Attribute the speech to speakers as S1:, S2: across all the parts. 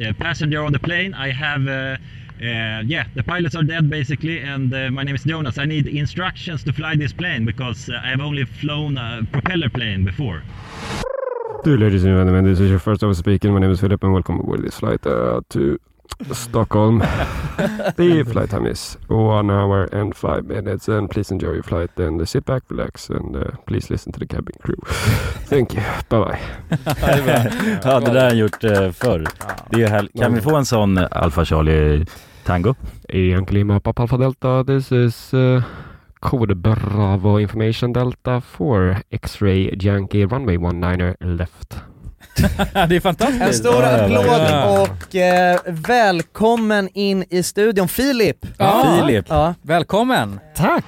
S1: uh, passenger on the plane. I have, uh, uh, yeah, the pilots are dead basically, and uh, my name is Jonas. I need instructions to fly this plane because uh, I have only flown a propeller plane before.
S2: Do ladies and gentlemen, this is your first time speaking. My name is Philip and welcome aboard this flight uh, to Stockholm. the flight time is one hour and five minutes and please enjoy your flight and uh, sit back, relax and uh, please listen to the cabin crew. Thank you, bye bye.
S3: Ja, det där har han gjort eh, förr. Det är här, kan vi få en sån Alfa Charlie Tango?
S2: Hey, Uncle Lima, Papa Alpha Delta. This is uh, Code Bravo Information Delta 4 X-Ray Yankee Runway 19er left.
S4: det är fantastiskt.
S5: En stor
S3: Ja,
S5: applåd
S3: verkligen.
S5: och eh, välkommen in i studion, Filip!
S4: Ja.
S3: Filip.
S5: Ja.
S4: Välkommen!
S2: Tack!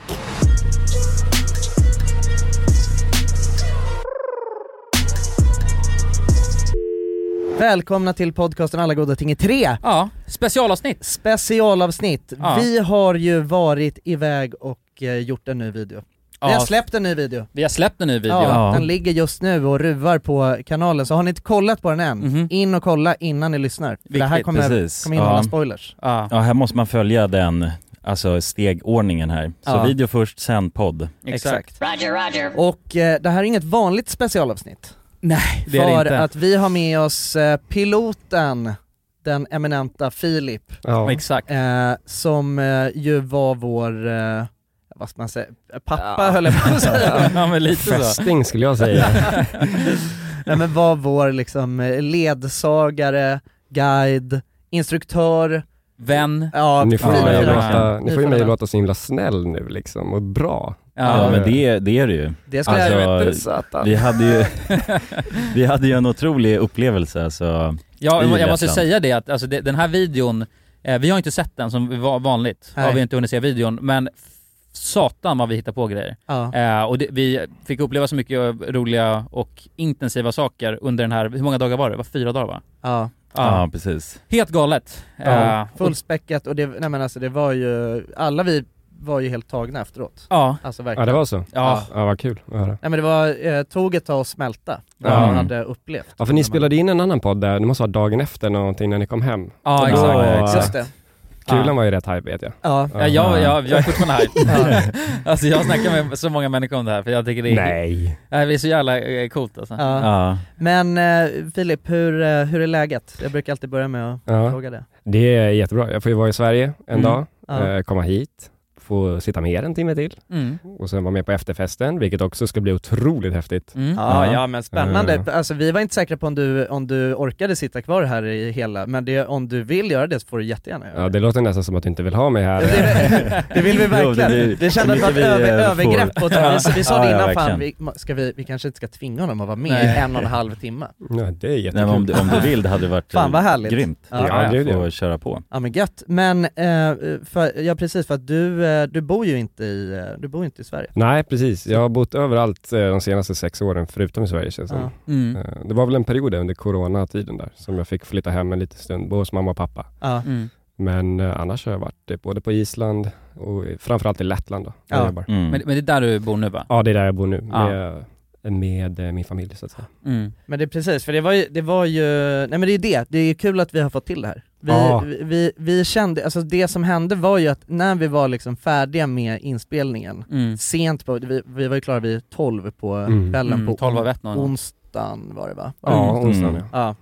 S5: Välkomna till podcasten Alla goda ting i tre.
S4: Ja, specialavsnitt.
S5: Specialavsnitt.
S4: Ja.
S5: Vi har ju varit iväg och eh, gjort en ny video.
S4: Ja,
S5: Vi har släppt en ny video.
S4: vi har släppt en ny video.
S5: Ja,
S3: Ja.
S5: Den ligger just nu och ruvar på kanalen, så har ni inte kollat på den än,
S4: Mhm.
S5: in och kolla innan ni lyssnar. För det här
S4: Viktigt,
S5: kommer,
S3: precis.
S5: kommer innehålla
S3: Ja.
S5: spoilers.
S4: Ja,
S3: Ja, här måste man följa den, alltså stegordningen här. Så
S5: Ja.
S3: video först, sen podd.
S4: exakt.
S6: Roger, Roger.
S5: Och eh, det här är inget vanligt specialavsnitt.
S4: Nej, det är det
S5: för
S4: inte.
S5: att vi har med oss eh, piloten, den eminenta Filip,
S2: Ja.
S4: Exakt.
S5: eh, som eh, ju var vår, eh, vad ska man säga, pappa höll jag på att säga.
S4: Ja, men lite så.
S2: Fästing skulle jag säga.
S5: Nej men var vår liksom eh, ledsagare, guide, instruktör,
S4: Vän.
S5: ja,
S2: ni får ju
S4: Ja,
S2: mig,
S4: ja,
S2: att
S4: ja.
S2: låta,
S5: Vi
S2: ni får ju
S5: får
S2: mig
S5: väl-
S2: låta så himla snäll nu liksom och bra.
S3: Ja,
S4: Ja.
S3: men det, det är det ju.
S5: Det skulle
S3: Alltså,
S5: jag
S2: Satan.
S3: Vi hade ju, vi hade ju en otrolig upplevelse alltså.
S4: Ja,
S3: I
S4: jag, jag måste
S3: Lettland.
S4: säga det att alltså, det, den här videon, eh, vi har inte sett den som var vanligt,
S5: Nej.
S4: har vi inte hunnit se videon, men f- satan vad vi hittar på grejer.
S5: ja.
S4: Eh, och det, vi fick uppleva så mycket eh, roliga och intensiva saker under den här, hur många dagar var det? Det var fyra dagar va?
S5: ja.
S4: Ja.
S3: Ja, precis.
S4: Helt galet.
S5: Ja,
S4: Eh, och-
S5: Fullspäckat och det, nej men alltså det var ju, alla vi var ju helt tagna efteråt.
S4: Ja,
S5: Alltså
S2: Ja
S5: verkligen.
S2: det var så.
S4: ja.
S2: Ja vad kul att höra.
S5: Nej men det var, eh, tog ett tag att smälta vad
S2: Ja.
S5: man hade upplevt.
S2: Ja för ni spelade in en annan podd där, det måste vara dagen efter någonting när ni kom hem. Ja,
S4: Ja, exakt.
S2: exakt.
S5: Just det.
S2: Kulan
S4: Ja.
S2: var ju rätt hype vet jag.
S5: Ja.
S4: Ja, jag, jag, jag är fortfarande här.
S5: Ja.
S4: alltså jag snackar med så många människor om det här för jag tycker det är,
S2: Nej.
S4: Nej, det är så jävla eh, coolt alltså.
S5: Ja.
S3: Ja.
S5: Men eh, Filip, hur, eh, hur är läget? Jag brukar alltid börja med att
S2: Ja.
S5: fråga det.
S2: Det är jättebra. Jag får ju vara i Sverige en
S4: Mm.
S2: dag,
S5: Ja.
S2: eh, komma hit, få sitta med er en timme till
S4: Mm.
S2: och sen vara med på efterfesten, vilket också ska bli otroligt häftigt.
S4: Mm.
S5: Ja, ja men spännande.
S2: Mm.
S5: Alltså vi var inte säkra på om du, om du orkade sitta kvar här i hela, men det, om du vill göra det så får du jättegärna göra
S2: Ja, det låter nästan som att du inte vill ha mig här.
S5: Det, det vill vi verkligen.
S3: Jo, det-
S5: Vi
S3: det-
S5: kände att det var ett
S3: det mycket vi,
S5: över,
S3: eh,
S5: övergrepp mot honom. Vi, vi sa
S3: Ja,
S5: det
S3: ja,
S5: innan, fan, vi,
S3: verkligen.
S5: ska vi, vi kanske inte ska tvinga honom att vara med
S4: Nej.
S5: i en och en halv timme.
S2: Ja, det är jättekul.
S3: Nej, men om, du, om du vill, det hade varit eh,
S5: Fan, vad härligt.
S3: grymt.
S5: Ja.
S2: Ja, gud, ja.
S3: Få köra på.
S5: Ja men gött. Men, eh, för, ja precis, för att du, eh, du bor ju inte i, eh, du bor ju inte i Sverige.
S2: Nej, precis. Jag har bott överallt eh, de senaste sex åren, förutom i Sverige känns det som.
S5: Ja.
S4: Mm.
S2: Eh, Det var väl en period där under coronatiden där som jag fick flytta hem en liten stund, både hos mamma och pappa.
S5: Ja.
S4: Mm.
S2: Men eh, annars har jag varit eh, både på Island och i- framförallt i Lettland då,
S5: Ja.
S2: där jag jobbar.
S3: Mm.
S4: Men, men det är där du bor nu va?
S2: Ja, det är där jag bor nu
S4: Ja.
S2: med, med eh, min familj så att säga.
S4: Mm.
S5: Men det är precis, för det var ju, det var ju, nej men det är ju det, det är ju kul att vi har fått till det här. Vi,
S2: Ja.
S5: vi, vi, vi kände, alltså det som hände var ju att när vi var liksom färdiga med inspelningen,
S4: Mm.
S5: sent på, vi, vi var ju klara vid 12 på
S2: Mm.
S5: kvällen
S4: Mm,
S5: på
S4: 12 av ett någon gång.
S5: onsdagen var det va?
S2: Ja,
S3: Mm.
S2: onsdagen
S3: Mm.
S2: ja.
S5: Ja,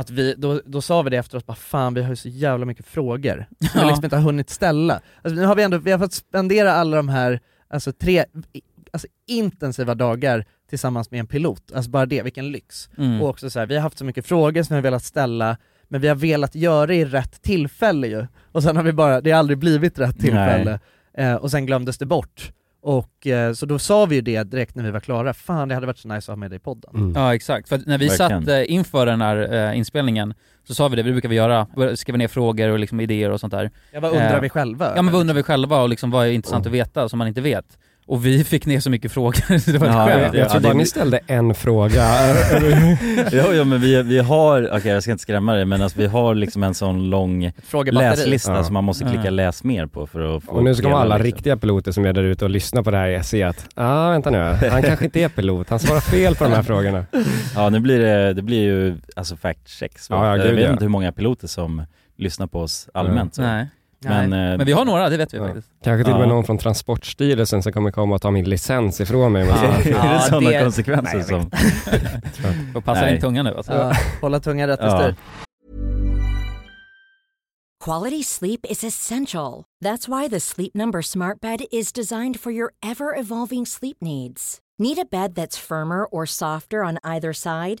S5: att vi, då, då sa vi det efteråt, bara fan vi har ju så jävla mycket frågor som
S4: Ja.
S5: vi liksom inte har hunnit ställa. Alltså, nu har vi ändå, vi har fått spendera alla de här, alltså tre i- alltså, intensiva dagar tillsammans med en pilot, alltså bara det, vilken lyx.
S4: Mm.
S5: Och också så här, vi har haft så mycket frågor som vi har velat ställa, men vi har velat göra det i rätt tillfälle ju. Och sen har vi bara, det har aldrig blivit rätt tillfälle. Eh, och sen glömdes det bort. Och eh, så då sa vi ju det direkt när vi var klara, fan det hade varit så nice att ha med dig i podden.
S2: Mm.
S4: Ja exakt, för att när vi
S3: Verkligen.
S4: satt eh, inför den här eh, inspelningen så sa vi det, det brukar vi göra, Bör- skriva ner frågor och liksom idéer och sånt där.
S5: Jag bara undrar
S4: Eh,
S5: vi själva
S4: Ja men
S5: över?
S4: vad undrar vi själva och liksom vad är intressant att veta som man inte vet? Och vi fick ner så mycket frågor så det var ett
S3: Ja,
S4: skämt.
S3: ja,
S2: Jag,
S3: ja,
S2: tror
S3: det-
S2: bara ni ställde en fråga.
S3: Jo, jo, men vi, vi har, okej jag ska inte skrämma dig, men alltså, vi har liksom en sån lång
S4: Frågebatteri.
S3: läslista
S2: Ja.
S3: som man måste klicka
S4: Ja.
S3: läs mer på för att få
S2: och nu ska
S3: hela,
S2: alla
S3: liksom.
S2: riktiga piloter som är där ute och lyssnar på det här se att, ah vänta nu, han kanske inte är pilot, han svarar fel på de här frågorna.
S3: Ja, nu blir det, det blir ju alltså fact checks.
S2: Ja, ja,
S3: jag
S2: gud,
S3: vet
S2: ja.
S3: inte hur många piloter som lyssnar på oss allmänt. Så.
S4: Nej.
S3: Men,
S4: Men,
S3: eh,
S4: men vi har några, det vet vi
S2: Ja.
S4: faktiskt.
S2: Kanske till och med
S3: Ja.
S2: någon från Transportstyrelsen som kommer komma och ta min licens ifrån mig. Ja.
S3: är det
S4: Ja,
S3: sådana
S4: det-
S3: konsekvenser
S4: Nej, jag
S3: som...
S4: Och passar
S3: Nej.
S4: din tunga nu alltså.
S7: Ja, hålla tungan rätt i
S3: Ja.
S7: styr.
S8: Quality sleep is essential. That's why the Sleep Number Smart Bed is designed for your ever evolving sleep needs. Need a bed that's firmer or softer on either side?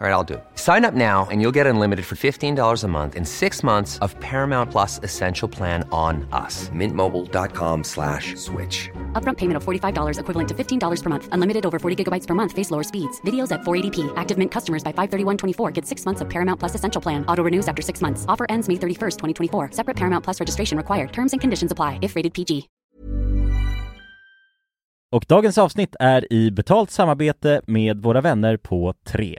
S9: All right, I'll do it. Sign up now and you'll get unlimited for $15 a month in six months of Paramount Plus Essential Plan on us. Mintmobile.com slash switch.
S10: Upfront payment of $45 equivalent to $15 per month. Unlimited over 40 gigabytes per month. Face lower speeds. Videos at 480p. Active Mint customers by 531.24 get six months of Paramount Plus Essential Plan. Auto renews after six months. Offer ends May 31st, 2024. Separate Paramount Plus registration required. Terms and conditions apply if rated PG.
S3: Och dagens avsnitt är i betalt samarbete med våra vänner på 3.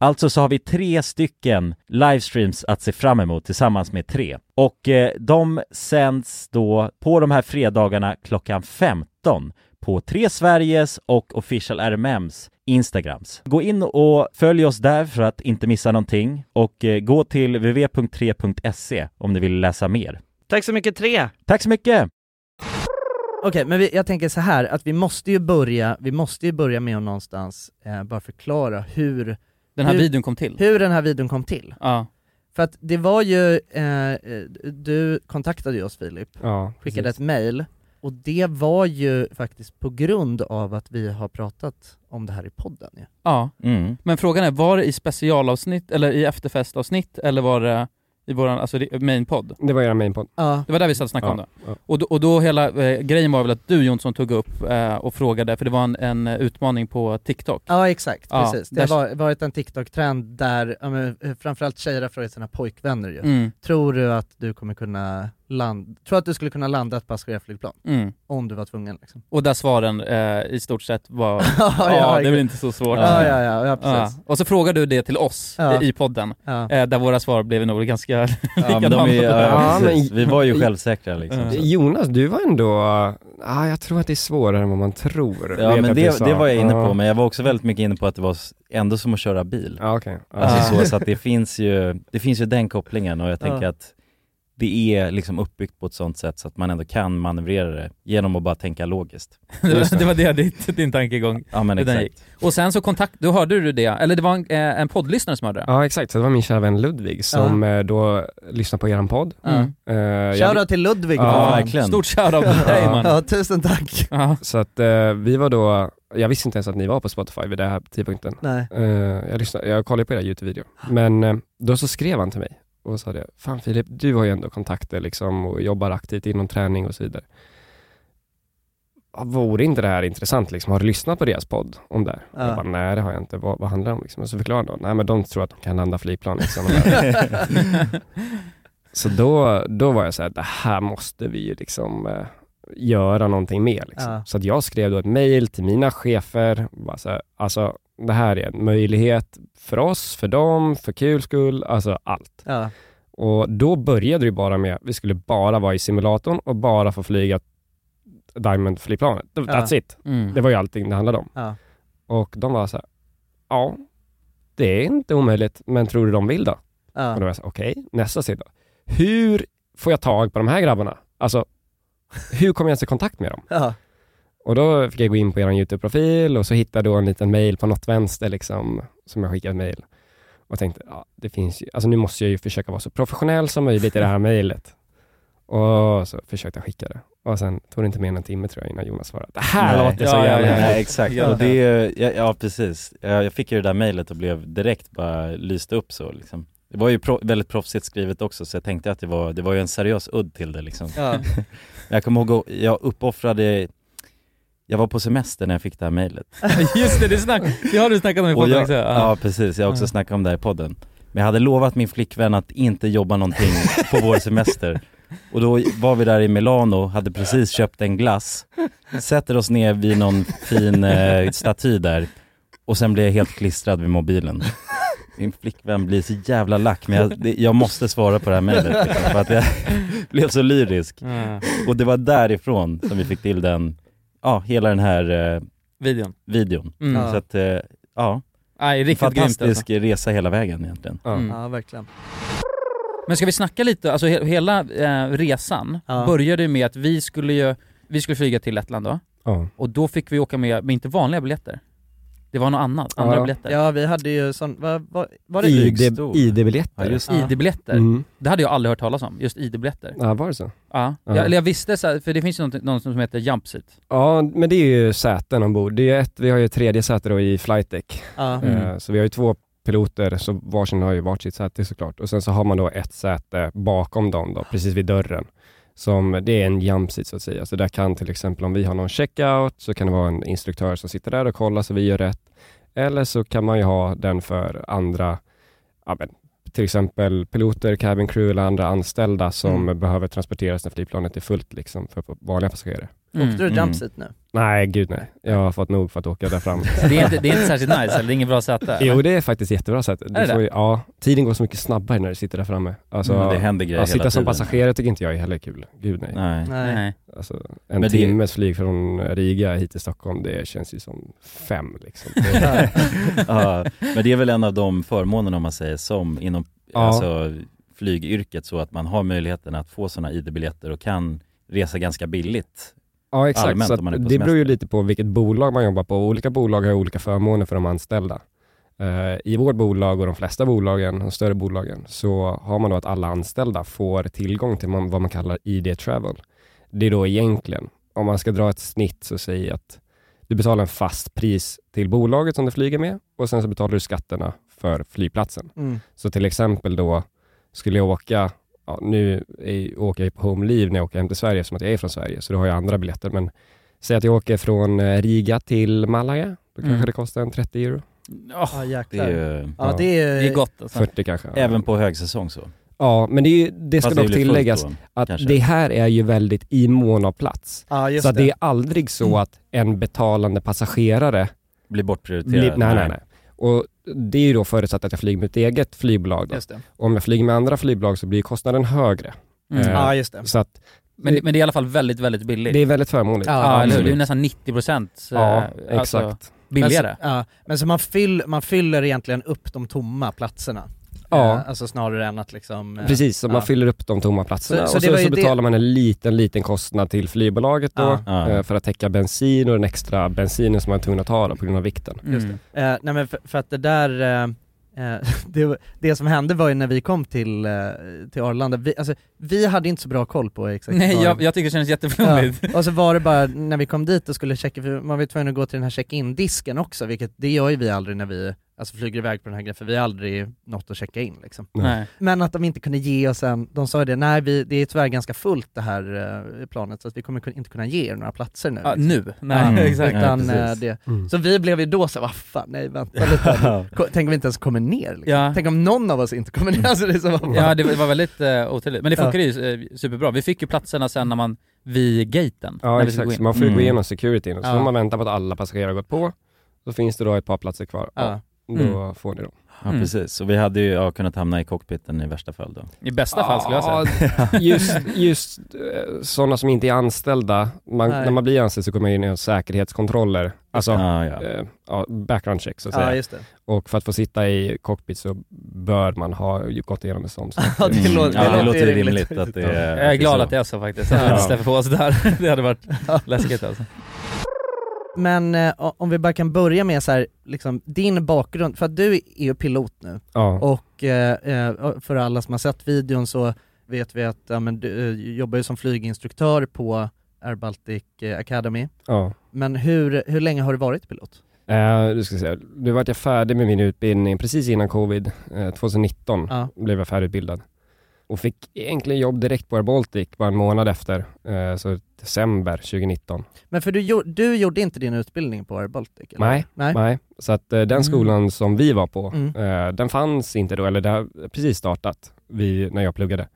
S3: Alltså så har vi tre stycken livestreams att se fram emot tillsammans med tre. Och eh, de sänds då på de här fredagarna klockan 15 på Tre Sveriges och Official RMMs Instagrams. Gå in och följ oss där för att inte missa någonting och eh, gå till www.3.se e om ni vill läsa mer.
S5: Tack så mycket tre!
S3: Tack så mycket!
S7: Okej, men vi, jag tänker så här att vi måste ju börja, vi måste ju börja med att någonstans eh, bara förklara hur,
S4: Den här
S7: Hur-
S4: videon kom till.
S7: hur den här videon kom till.
S4: Ja.
S5: För att det var ju, eh, du kontaktade ju oss Filip,
S2: Ja,
S5: skickade
S2: precis.
S5: ett mail, och det var ju faktiskt på grund av att vi har pratat om det här i podden ju.
S4: Ja,
S3: Mm.
S4: men frågan är, var det i specialavsnitt, eller i efterfestavsnitt, eller var det i våran, alltså det- mainpodd?
S2: Det var era mainpodd.
S5: Ja,
S4: Det var där vi satt och snackade om
S2: Ja,
S4: det.
S2: ja.
S4: Och då, och då hela eh, grejen var väl att du Jonsson tog upp eh, och frågade, för det var en, en eh, utmaning på TikTok.
S5: ja exakt,
S4: Ja,
S5: precis. Det har
S4: där-
S5: var- varit en TikTok-trend där, ja, men, eh, framförallt tjejer har frågat sina pojkvänner ju.
S4: Mm,
S5: Tror du att du kommer kunna landa, tror att du skulle kunna landa ett passagerarflygplan?
S4: mm.
S5: Om du var tvungen liksom.
S4: Och där svaren eh, i stort sett var,
S5: ja,
S4: ja,
S5: ja,
S4: det är väl inte så svårt.
S5: ja, ja, ja, ja,
S4: Ja.
S5: precis.
S4: Och så frågade du det till oss
S5: Ja.
S4: i, i podden,
S5: Ja.
S4: eh, där våra svar blev nog ganska...
S3: Ja, men de är, ja,
S2: Ja,
S3: precis.
S2: men-
S3: Vi var ju självsäkra liksom.
S4: Ja.
S3: så.
S2: Jonas, du var ändå, ah, jag tror att det är svårare än vad man tror.
S3: Ja
S2: vet
S3: men
S2: att du
S3: det,
S2: sa.
S3: det var jag inne
S2: Ja.
S3: på, men jag var också väldigt mycket inne på att det var s- ändå som att köra bil.
S2: Ja, okej. Ja.
S3: Alltså så, så att det finns ju, det finns ju den kopplingen och jag tänker
S5: Ja.
S3: att det är liksom uppbyggt på ett sånt sätt så att man ändå kan manövrera det genom att bara tänka logiskt.
S4: det, var, det var det ditt, din tankegång.
S3: Ja men
S4: Det där
S3: exakt.
S4: Och sen så kontakt, då hörde du det, eller det var en, eh, en poddlyssnare som hörde det.
S2: Ja, exakt. Så det var min kära vän Ludvig som eh, då lyssnade på eran podd.
S4: Mm.
S2: Eh, jag-
S5: Shoutout till Ludvig!
S2: Ja,
S4: Fan,
S3: verkligen.
S4: Stort shoutout till dig man.
S5: Ja, tusen tack!
S4: Ja.
S2: Så att eh, vi var då, jag visste inte ens att ni var på Spotify vid den här tidpunkten.
S5: Nej.
S2: Eh, jag, lyssnade, jag kollade på era Youtube-video. Men eh, då så skrev han till mig och sa det, fan Filip, du har ju ändå kontakter liksom och jobbar aktivt inom träning och så vidare. Ja, Vore inte det här intressant liksom? Har du lyssnat på deras podd om det här?
S5: Ja.
S2: Jag bara, nej det har jag inte. Vad, vad handlar det om liksom? Och så förklarade han, nej men de tror att de kan landa flygplan liksom. Och bara- så då, då var jag så här, det här måste vi ju liksom eh, göra någonting med. Liksom.
S5: Ja.
S2: Så att jag skrev då ett mejl till mina chefer. Bara så här, alltså, det här är en möjlighet för oss, för dem, för kul skull, alltså allt.
S5: Ja.
S2: Och då började det ju bara med, vi skulle bara vara i simulatorn och bara få flyga Diamond-flygplanet. That's it. Det
S4: Mm.
S2: var ju allting det handlade om.
S5: Ja.
S2: Och de var så här, ja, det är inte omöjligt, men tror du de vill då? Och då
S5: Ja.
S2: var jag så här, okej, nästa steg då. Hur får jag tag på de här grabbarna? Alltså, hur kommer jag ens i kontakt med dem?
S5: Ja.
S2: Och då fick jag gå in på er YouTube-profil och så hittade jag då en liten mail på något vänster liksom, som jag skickade ett mail. Och tänkte, ja, det finns ju, alltså nu måste jag ju försöka vara så professionell som möjligt i det här mejlet. Och så försökte jag skicka det. Och sen tog det inte mer än en timme tror jag innan Jonas svarade. Det här
S3: Nej.
S2: låter så
S4: Ja, ja,
S2: jävla
S4: ja.
S2: härligt.
S3: Nej, exakt.
S4: Ja.
S3: Och det, är- ja, ja precis. Jag jag fick ju det där mejlet och blev direkt bara lyst upp så liksom. Det var ju pro- väldigt proffsigt skrivet också så jag tänkte att det var, det var ju en seriös udd till det liksom.
S5: Ja.
S3: Jag kommer ihåg, att jag uppoffrade, jag var på semester när jag fick det här mejlet.
S4: Just det, det, snack, det har du snackat om i
S3: Och
S4: podden
S3: jag,
S4: också. Ja.
S3: ja precis, jag har också
S4: Ja.
S3: snackat om det här i podden. Men jag hade lovat min flickvän att inte jobba någonting på vår semester. Och då var vi där i Milano, hade precis köpt en glass, sätter oss ner vid någon fin eh, staty där och sen blir jag helt klistrad vid mobilen. Min flickvän blir så jävla lack men jag, det, jag måste svara på det här mejlet liksom, för att jag blev så lyrisk.
S4: Mm.
S3: Och det var därifrån som vi fick till den, ja hela den här eh,
S4: Videon.
S3: videon.
S4: Mm.
S5: Ja.
S3: Så att, eh, ja.
S4: Nej, riktigt grymt
S3: Fantastisk
S4: alltså.
S3: resa hela vägen egentligen.
S2: Ja.
S4: Mm.
S5: ja, verkligen.
S4: Men ska vi snacka lite, alltså he- hela eh, resan
S5: Ja.
S4: började ju med att vi skulle ju, vi skulle flyga till Lettland då,
S2: Ja.
S4: och då fick vi åka med, men inte vanliga biljetter. Det var något annat, andra
S2: Ja.
S4: biljetter.
S5: Ja, vi hade ju sån, vad var, var det?
S3: I-
S2: ID
S3: Stor.
S2: ID-biljetter.
S3: Ja, just
S5: Ja.
S4: ID-biljetter.
S2: Mm.
S4: Det hade jag aldrig hört talas om, just ID-biljetter.
S2: Ja, var det så?
S4: Ja.
S2: Ja.
S4: Jag, eller jag visste så här, för det finns ju något, något som heter jumpseat.
S2: Ja, men det är ju säten ombord. Det är ju ett, vi har ju ett tredje säte då i flight deck.
S5: Ja.
S4: Mm.
S2: Eh, Så vi har ju två piloter, så varsin har ju varsitt säte såklart. Och sen så har man då ett säte bakom dem då, precis vid dörren. Som, det är en jump seat så att säga. Så där kan till exempel om vi har någon checkout så kan det vara en instruktör som sitter där och kollar så vi gör rätt. Eller så kan man ju ha den för andra, ja, men, till exempel piloter, cabin crew eller andra anställda som behöver transporteras när flygplanet är fullt liksom, för vanliga passagerare.
S5: Åkte du
S3: Mm.
S5: jumpseat nu?
S2: Nej, gud nej. Jag har fått nog för att åka där fram.
S4: Det är inte, det är inte särskilt nice, eller det är inget bra säte.
S2: jo, det är faktiskt jättebra sätt. Du
S4: det
S2: får,
S4: det?
S2: ju- ja, tiden går så mycket snabbare när du sitter där framme. Alltså,
S3: Mm, Men det händer grejer
S2: att sitta
S3: hela
S2: som
S3: tiden.
S2: passagerare tycker inte jag är heller kul. Gud nej.
S3: Nej.
S4: Nej.
S2: Alltså, en
S3: det-
S2: timmes flyg från Riga hit till Stockholm, det känns ju som fem liksom.
S3: ja, men det är väl en av de förmånerna om man säger som inom
S2: Ja.
S3: alltså, flygyrket så att man har möjligheten att få sådana ID-biljetter och kan resa ganska billigt.
S2: ja, exakt.
S3: Allmänt
S2: så
S3: om man är
S2: att,
S3: på
S2: det beror ju
S3: semester.
S2: lite på vilket bolag man jobbar på. Olika bolag har olika förmåner för de anställda. Eh, I vårt bolag och de flesta bolagen, de större bolagen, så har man då att alla anställda får tillgång till man, vad man kallar ID Travel. Det är då egentligen, om man ska dra ett snitt så säger jag att du betalar en fast pris till bolaget som du flyger med och sen så betalar du skatterna för flygplatsen.
S5: Mm.
S2: Så till exempel då, skulle jag åka, ja, nu är, åker jag på Home Leave när jag åker hem till Sverige eftersom att jag är från Sverige, så då har jag andra biljetter. Men säg att jag åker från eh, Riga till Malaga, då kanske
S4: Mm.
S2: det kostar en 30 euro.
S4: Åh,
S5: Ja
S3: Det
S5: jäklar.
S3: är ju,
S5: Ja det är
S4: det är gott alltså.
S2: 40 kanske.
S3: även på högsäsong så.
S2: Ja, men det, är ju, det ska
S3: Fast det
S2: dock
S3: blir fullt
S2: tilläggas
S3: då.
S2: att
S3: kanske.
S2: det här är ju väldigt i mån av plats.
S5: Ja just
S2: så att det.
S5: det.
S2: är aldrig så att en betalande passagerare
S3: Blir
S2: blir, nej,
S3: bortprioriterad.
S2: nej, nej. Och det är ju då förutsatt att jag flyger med ett eget flygbolag. Då.
S5: Just det.
S2: Om jag flyger med andra flygbolag så blir kostnaden högre.
S4: Mm.
S2: Eh,
S5: Ja just det.
S2: Så att
S4: Men, det- men det är i alla fall väldigt, väldigt billigt.
S2: det är väldigt förmånligt.
S5: Ja,
S4: ja, eller hur?
S2: absolut.
S4: Det är ju nästan 90 procent
S2: Ja,
S4: alltså,
S2: exakt.
S4: billigare.
S5: Men så, ja, men så man, fyll, man fyller egentligen upp de tomma platserna?
S2: Ja.
S5: Eh, alltså snarare än att liksom... eh,
S2: Precis, så man
S5: ja.
S2: fyller upp de tomma platserna
S5: Så- så
S2: och
S5: det
S2: så,
S5: var ju
S2: så
S5: det-
S2: betalar man en liten, liten kostnad till flygbolaget då
S5: Ja.
S3: Ja.
S2: eh, för att täcka bensin och den extra bensinen som man är tvungen att ta då, på grund av vikten.
S5: Just
S4: Mm.
S5: Eh, nej men för, för att det där, eh, eh, det, det som hände var ju när vi kom till, eh, till Arlanda, vi, alltså, vi hade inte så bra koll på exakt
S4: Nej,
S5: vad
S4: jag,
S5: det-
S4: jag tycker det känns jätteflummigt.
S5: Ja. Och så var det bara när vi kom dit och skulle checka, för man var ju tvungen att gå till den här check-in-disken också, vilket det gör ju vi aldrig när vi alltså, flyger iväg på den här grejen, för vi har aldrig något att checka in liksom.
S2: Ja.
S4: Nej.
S5: Men att de inte kunde ge oss en, de sa ju det, nej vi, det är tyvärr ganska fullt det här eh, planet så att vi kommer kun- inte kunna ge er några platser nu.
S4: Ja,
S5: liksom.
S4: nu? Nej,
S3: Mm.
S4: exakt.
S3: Ja,
S5: Utan, eh,
S3: precis.
S5: det.
S2: Mm.
S5: Så vi blev ju då så här, vad fan, nej vänta lite. Ko- Tänk om vi inte ens kommer ner liksom.
S4: Ja.
S5: Tänk om någon av oss inte kommer ner. Alltså, det är så bara,
S4: Ja, det var väldigt uh, oturligt. Men det funkade ju eh, superbra. Vi fick ju platserna sen när man, vid gaten.
S2: Ja
S4: när vi
S2: exakt,
S4: skulle gå
S2: så
S4: in.
S2: man får ju gå
S3: Mm.
S2: igenom securityn och så
S5: Ja.
S2: får man vänta på att alla passagerare har gått på. Då finns det då ett par platser kvar.
S5: ja.
S2: Ja, då får ni dem.
S3: Ja
S4: Mm.
S3: precis, och vi hade ju ja, kunnat hamna i cockpiten i värsta fall då.
S4: I bästa fall skulle jag säga.
S2: Ja, just just eh, sådana som inte är anställda, man,
S5: Nej.
S2: när man blir anställd så kommer man in i säkerhetskontroller, alltså
S3: Ja, ja.
S2: eh, ja, background check så att säga.
S5: ja just det.
S2: Och för att få sitta i cockpit så bör man ha ju gått igenom en sån sak.
S5: Ja, det låter-
S3: Mm. ja, det låter ju
S5: rimligt.
S3: rimligt att det är
S4: Jag är glad
S3: så.
S4: att det är så faktiskt, att man
S2: Ja.
S4: släpper på oss där. Det hade varit läskigt alltså.
S5: Men eh, o- om vi bara kan börja med så här, liksom, din bakgrund, för att du är ju pilot nu
S2: Ja,
S5: och eh, eh, för alla som har sett videon så vet vi att ja, men, du eh, jobbar ju som flyginstruktör på Air Baltic eh, Academy.
S2: ja.
S5: Men hur, hur länge har du varit pilot?
S2: Eh, du ska säga, nu vart jag färdig med min utbildning precis innan covid, eh, 2019
S5: Ja.
S2: blev jag färdigutbildad. Och fick egentligen jobb direkt på Air Baltic bara en månad efter, eh, så december 2019.
S5: Men för du, gjo- du gjorde inte din utbildning på Air Baltic? Eller?
S2: Nej,
S5: Nej.
S2: Nej, så att eh, den skolan som vi var på,
S5: Mm.
S2: eh, den fanns inte då, eller det har precis startat vi, när jag pluggade.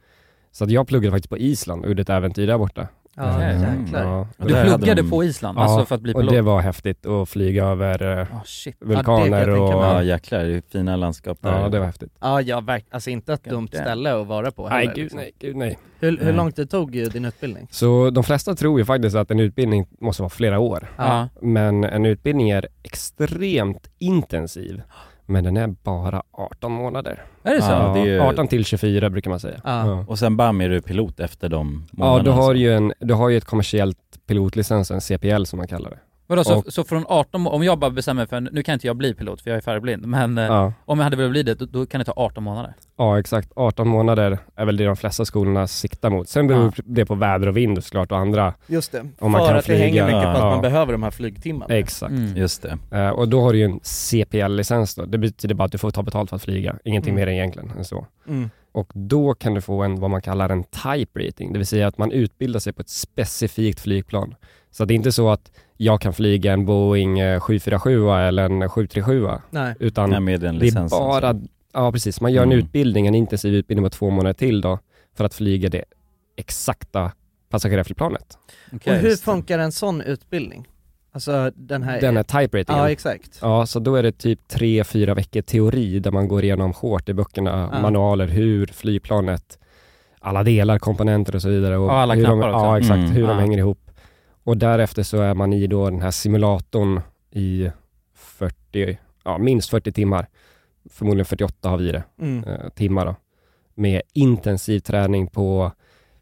S2: Så att jag pluggade faktiskt på Island och gjorde ett äventyr där borta.
S5: Ja,
S3: Mm.
S5: jäklar.
S2: Ja,
S3: Ja,
S4: Du
S3: där hade
S4: pluggade
S3: de-
S4: på Island, alltså för att bli
S2: och det
S4: pilot?
S2: var häftigt att flyga över eh,
S4: Åh shit.
S5: Ja, det
S2: vulkaner
S5: kan jag tänka
S2: och...
S3: Ja jäklar, det är fina landskap där.
S2: Ja, det var häftigt.
S5: Ja, ja verk- alltså inte ett dumt
S4: damn.
S5: ställe att vara på
S2: Nej,
S5: heller,
S2: gud
S5: liksom.
S2: nej, gud nej.
S5: Hur, hur
S3: Nej.
S5: långt det tog eh, din utbildning?
S2: Så de flesta tror ju faktiskt att en utbildning måste vara flera år.
S4: Ja.
S2: Men en utbildning är extremt intensiv. Men den är bara 18 månader.
S4: Är det så?
S3: Ja. det är ju-
S2: 18 till 24 brukar man säga.
S5: Ja.
S2: Ja.
S3: Och sen bam är du pilot efter de
S2: Ja,
S3: månaderna.
S2: du har,
S3: alltså.
S2: ju en, du har ju ett kommersiellt pilotlicens, en CPL som man kallar det.
S4: Vadå, så,
S2: Och-
S4: så från 18, må- om jag bara bestämmer för, nu kan inte jag bli pilot för jag är färgblind, men eh,
S2: Ja,
S4: om jag hade velat bli det, då, då kan det ta 18 månader.
S2: ja exakt. 18 månader är väl det de flesta skolorna siktar mot. Sen beror
S4: Ja.
S2: det på väder och vind såklart och andra.
S5: Just det,
S2: Om man
S5: för
S2: kan
S5: att det hänger
S2: flyga.
S5: mycket på att
S2: Ja.
S5: man behöver de här flygtimmarna.
S2: Exakt.
S4: Mm.
S3: Just det.
S2: Eh, och då har du ju en CPL-licens då. Det betyder bara att du får ta betalt för att flyga. Ingenting
S5: Mm.
S2: mer egentligen än så.
S5: Mm.
S2: Och då kan du få en, vad man kallar en type rating, det vill säga att man utbildar sig på ett specifikt flygplan. Så att det är inte så att jag kan flyga en Boeing eh, 747 eller en 737
S5: Nej.
S2: utan
S3: Nej, med den
S2: det är
S3: licensen.
S2: bara, ja precis, man gör en
S3: Mm.
S2: utbildning, en intensiv utbildning på två månader till då för att flyga det exakta passagerarflygplanet.
S4: Okej.
S5: och hur funkar en sån utbildning? Alltså den här...
S2: Den här type ratingen.
S5: ja
S2: Ja,
S5: exakt.
S2: så då är det typ tre, fyra veckor teori där man går igenom hårt i böckerna,
S5: Ja.
S2: manualer, hur flygplanet, alla delar, komponenter och så vidare. Och
S4: Ja, alla
S2: hur de,
S4: knappar också.
S2: Ja, exakt,
S3: Mm.
S2: hur de
S4: Ja.
S2: hänger ihop. Och därefter så är man i då den här simulatorn i 40, ja minst 40 timmar. Förmodligen 48 har vi det.
S5: Mm.
S2: eh, timmar då, med intensiv träning på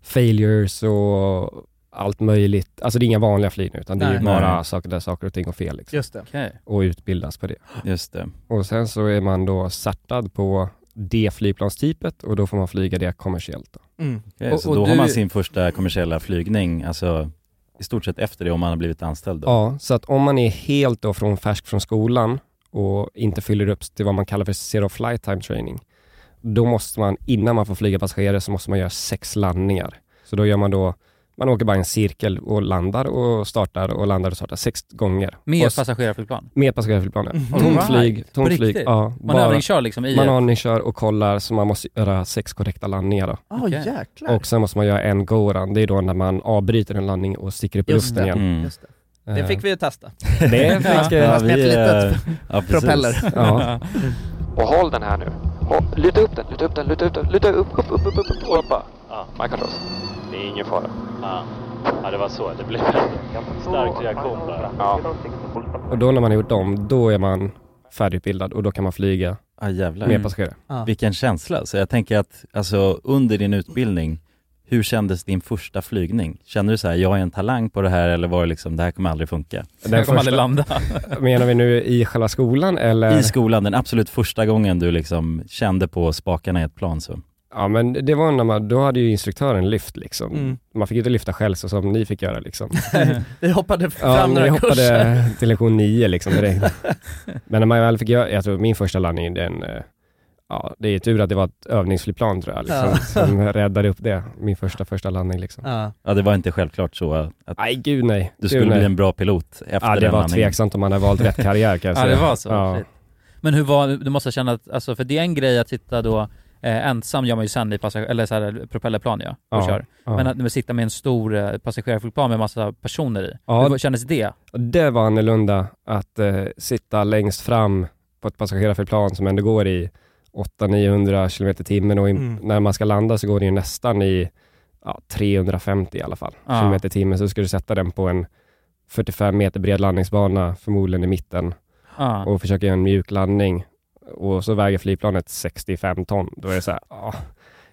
S2: failures och allt möjligt. Alltså det är inga vanliga flygningar utan det är
S5: Nej.
S2: ju bara
S3: Nej.
S2: saker där saker och ting går fel liksom.
S5: Just det.
S4: Okej,
S2: Och utbildas på det.
S3: Just det.
S2: Och sen så är man då startad på det flygplanstypet och då får man flyga det kommersiellt. Då.
S5: Mm.
S3: Okej,
S4: Och-
S3: så
S4: och
S3: då
S4: du-
S3: har man sin första kommersiella flygning, alltså i stort sett efter det om man har blivit anställd då?
S2: Ja, så att om man är helt då från färsk från skolan och inte fyller upp till vad man kallar för zero flight time training, då måste man, innan man får flyga passagerare, så måste man göra sex landningar. Så då gör man då, man åker bara en cirkel och landar och startar och landar och startar sex gånger.
S4: med
S2: och, s-
S4: passagerarflygplan?
S2: med passagerarflygplanet.
S4: All
S2: Tomt
S4: Mm-hmm. right.
S2: flyg,
S4: På
S2: tomt flyg.
S4: riktigt?
S2: Ja,
S4: Man
S2: bara-
S4: övningskör liksom i
S2: man
S4: ett-
S2: övningskör och kollar så man måste göra sex korrekta landningar då.
S5: Ah
S4: Okej.
S5: jäklar.
S2: Och sen måste man göra en go-run. Det är då när man avbryter en landning och sticker upp i
S5: Just
S2: luften igen.
S3: Mm.
S5: Just det. det fick vi ju testa.
S2: Det fick vi.
S3: Ja,
S5: Fast med ett
S3: är-
S5: litet
S3: ja, precis.
S5: propeller.
S2: Ja.
S11: Och håll den här nu. Och luta upp den, luta upp den, luta upp den, luta upp, upp, upp, upp, upp, upp, upp. Ja. Man kan slåss. Det är ingen fara.
S1: Stark reaktion bara.
S2: Och då när man har gjort dem, då är man färdigutbildad och då kan man flyga
S3: Ah, jävlar.
S5: Mm.
S2: med passagerare.
S5: Ja.
S3: Vilken känsla. Så jag tänker att, alltså under din utbildning, hur kändes din första flygning? Kände du så här, jag är en talang på det här eller var det liksom, det här kommer aldrig funka?
S2: Den
S4: kommer aldrig landa.
S2: menar vi nu i själva skolan eller?
S3: I skolan, den absolut första gången du liksom kände på spakarna i ett plan så.
S2: ja men det var när man, då hade ju instruktören lyft liksom.
S5: Mm.
S2: Man fick ju inte lyfta själv så som ni fick göra liksom.
S5: Vi hoppade
S2: Ja,
S5: fram
S2: ni
S5: några kurser.
S2: hoppade till lektion nio liksom direkt. men när man väl fick göra, jag tror min första landning den, eh, ja det är tur att det var ett övningsflygplan tror jag liksom,
S5: Ja.
S2: som räddade upp det. Min första, första landning liksom.
S5: Ja.
S3: Ja, det var inte självklart så att
S2: Nej gud nej.
S3: du
S2: Gud,
S3: skulle
S2: nej.
S3: bli en bra pilot efter
S2: Ja det
S3: den
S2: var
S3: landningen.
S2: tveksamt om man hade valt rätt karriär kan jag
S4: Ja
S2: säga.
S4: det var så,
S2: Ja.
S4: Shit. Men hur var, du måste känna att, alltså för det är en grej att sitta då eh, ensam gör man ju sen i passager, eller så här, propellerplan ja, och
S2: Ja,
S4: kör.
S2: ja.
S4: Men att när man sitter med en stor eh, passagerarflygplan med massa personer i,
S2: Ja.
S4: hur var- kändes det?
S2: Och Det var annorlunda att eh, sitta längst fram på ett passagerarflygplan som ändå går i 800-900 km i timmen och i-
S5: Mm.
S2: när man ska landa så går det ju nästan i ja, 350 i alla fall
S4: Ja.
S2: km i timmen. Så ska du sätta den på en 45 meter bred landningsbana, förmodligen i mitten
S4: Ja.
S2: och försöka göra en mjuk landning och så väger flygplanet 65 ton. Då är det så här, ja,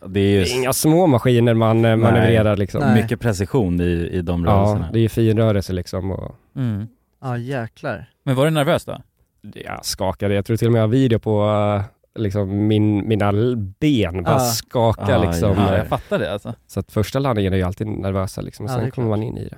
S3: Det är ju
S2: det är inga små maskiner man eh, manövrerar liksom.
S5: Nej.
S3: mycket precision i, i de
S2: Ja,
S3: rörelserna.
S2: det är ju fin rörelse liksom. Och,
S4: Mm.
S5: Ja jäklar.
S4: Men var du nervös då?
S2: jag skakade. Jag tror till och med jag har video på eh, liksom min, mina l- ben bara
S5: Ah.
S2: skakar
S3: Ah,
S2: liksom.
S3: ja.
S4: Ja,
S2: Eh,
S4: jag fattar det alltså.
S2: Så att första landningen är ju alltid nervösa liksom och
S5: Ja,
S2: sen
S5: det är
S2: kommer
S5: klart.
S2: man in i det.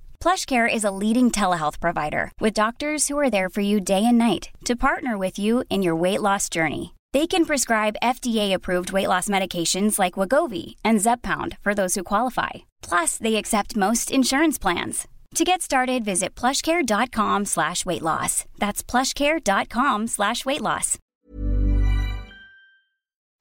S12: PlushCare is a leading telehealth provider with doctors who are there for you day and night to partner with you in your weight loss journey. They can prescribe FDA-approved weight loss medications like Wagovi and Zepbound for those who qualify. Plus, they accept most insurance plans. To get started, visit plushcare.com slash weight loss. That's plushcare.com slash weight loss.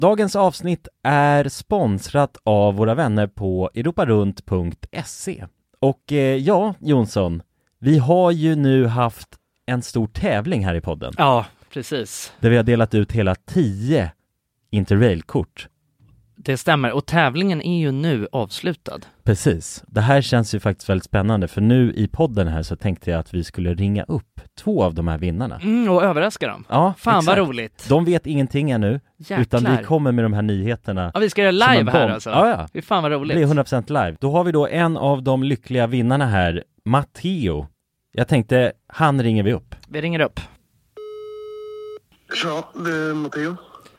S3: Dagens avsnitt är sponsrat av våra vänner på europarunt.se. Och eh, ja, Jonsson, vi har ju nu haft en stor tävling här i podden
S11: Ja, precis.
S3: där vi har delat ut hela 10 Interrail-kort.
S11: Det stämmer. Och tävlingen är ju nu avslutad.
S3: Precis. Det här känns ju faktiskt väldigt spännande för nu i podden här så tänkte jag att vi skulle ringa upp två av de här vinnarna.
S11: Mm, och överraska dem.
S3: Ja,
S11: Fan
S3: exakt.
S11: vad roligt.
S3: De vet ingenting ännu,
S11: Jäklar.
S3: utan vi kommer med de här nyheterna.
S11: Ja, vi ska göra
S3: som en
S11: live här
S3: bomb.
S11: alltså.
S3: Ja, ja.
S11: Fy fan vad
S3: Det blir
S11: roligt.
S3: 100% live. Då har vi då en av de lyckliga vinnarna här, Matteo. Jag tänkte, han ringer vi upp.
S11: Vi ringer upp.
S13: Ja, det är Matteo.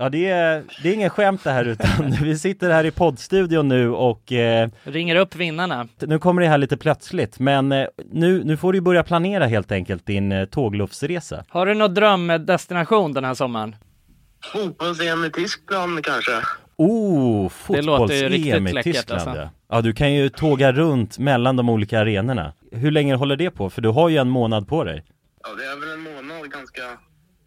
S3: Ja, det är, det är ingen skämt det här utan vi sitter här i poddstudion nu och eh,
S11: Ringer upp vinnarna.
S3: nu kommer det här lite plötsligt men eh, nu, nu får du ju börja planera helt enkelt din eh, tågluffsresa.
S11: Har du någon drömdestination den här sommaren?
S13: Fotbolls-EM i Tyskland kanske?
S3: Oh,
S11: Det låter ju
S3: fotbolls-EM
S11: riktigt
S3: i
S11: läckert,
S3: Tyskland
S11: alltså.
S3: ja. ja, du kan ju tåga runt mellan de olika arenorna. Hur länge håller det på? För du har ju en månad på dig.
S13: Ja, det är väl en månad ganska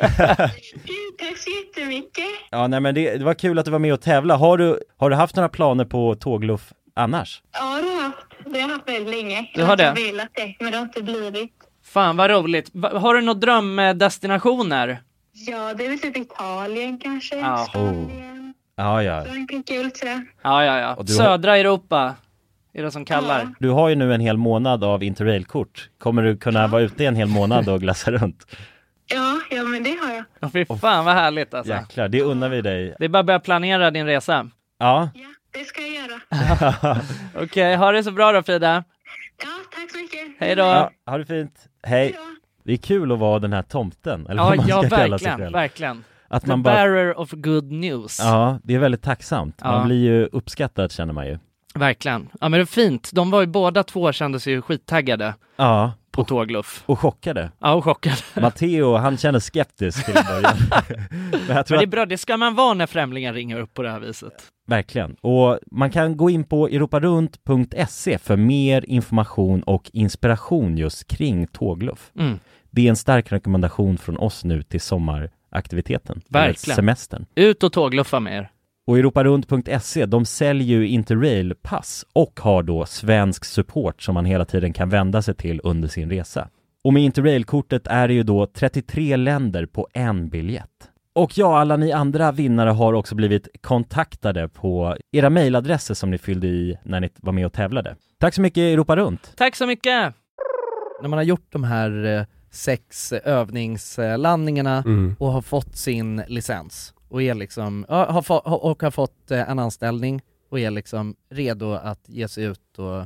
S14: Tack så jättemycket.
S3: Ja, nej men det, det var kul att du var med och tävla. Har du, har du haft några planer på tågluff annars?
S14: Ja, det har jag haft. Det har jag haft väldigt länge.
S11: Du har
S14: Jag
S11: det?
S14: har velat det, men det har inte blivit.
S11: Fan vad roligt. Va- Har du några drömdestinationer?
S14: Ja, det är väl typ Italien kanske.
S11: Ja.
S3: Ja, ja.
S14: Frankrike, sådär.
S11: Ja, ja, ja.
S3: Och du har-
S11: Södra Europa är det som kallar.
S3: Du har ju nu en hel månad av interrailkort. Kommer du kunna vara ute i en hel månad och glassa runt?
S14: Ja, ja, men det har jag.
S11: Ja. Fy fan vad härligt alltså.
S3: Jäklar, det unnar vi dig.
S11: Det är bara att börja planera din resa.
S3: Ja.
S14: Det ska jag göra.
S11: Okej, ha det så bra då Frida.
S14: Ja, tack så mycket.
S11: Hej då.
S3: ja, ha det fint. Hej. Det är kul att vara den här tomten, eller
S11: Ja,
S3: vad man ska
S11: ja
S3: kalla sig
S11: verkligen,
S3: själv.
S11: verkligen.
S3: Att
S11: The
S3: man bara-
S11: bearer of good news.
S3: Ja, det är väldigt tacksamt.
S11: Ja.
S3: Man blir ju uppskattad känner man ju.
S11: Verkligen. Ja men det är fint. De var ju båda två kände sig ju skittaggade
S3: Ja,
S11: på tågluff.
S3: och chockade.
S11: Ja, och chockade.
S3: Matteo, han känner skeptisk till en början. Men jag tror
S11: Men det är
S3: att,
S11: bra, det ska man vara när främlingar ringer upp på det här viset.
S3: verkligen. Och man kan gå in på europarunt.se för mer information och inspiration just kring tågluff.
S11: Mm.
S3: Det är en stark rekommendation från oss nu till sommaraktiviteten. eller
S11: Verkligen.
S3: Semestern.
S11: Ut och tågluffa med er.
S3: Och europarunt.se, E, de säljer ju Interrail-pass och har då svensk support som man hela tiden kan vända sig till under sin resa. Och med Interrail-kortet är det ju då 33 länder på en biljett. Och ja, alla ni andra vinnare har också blivit kontaktade på era mejladresser som ni fyllde i när ni var med och tävlade. Tack så mycket Europa Runt!
S11: Tack så mycket!
S5: När man har gjort de här eh, sex eh, övningslandningarna
S15: Mm.
S5: och har fått sin licens och är liksom, ja, har få, ha- och har fått eh, en anställning och är liksom redo att ge sig ut och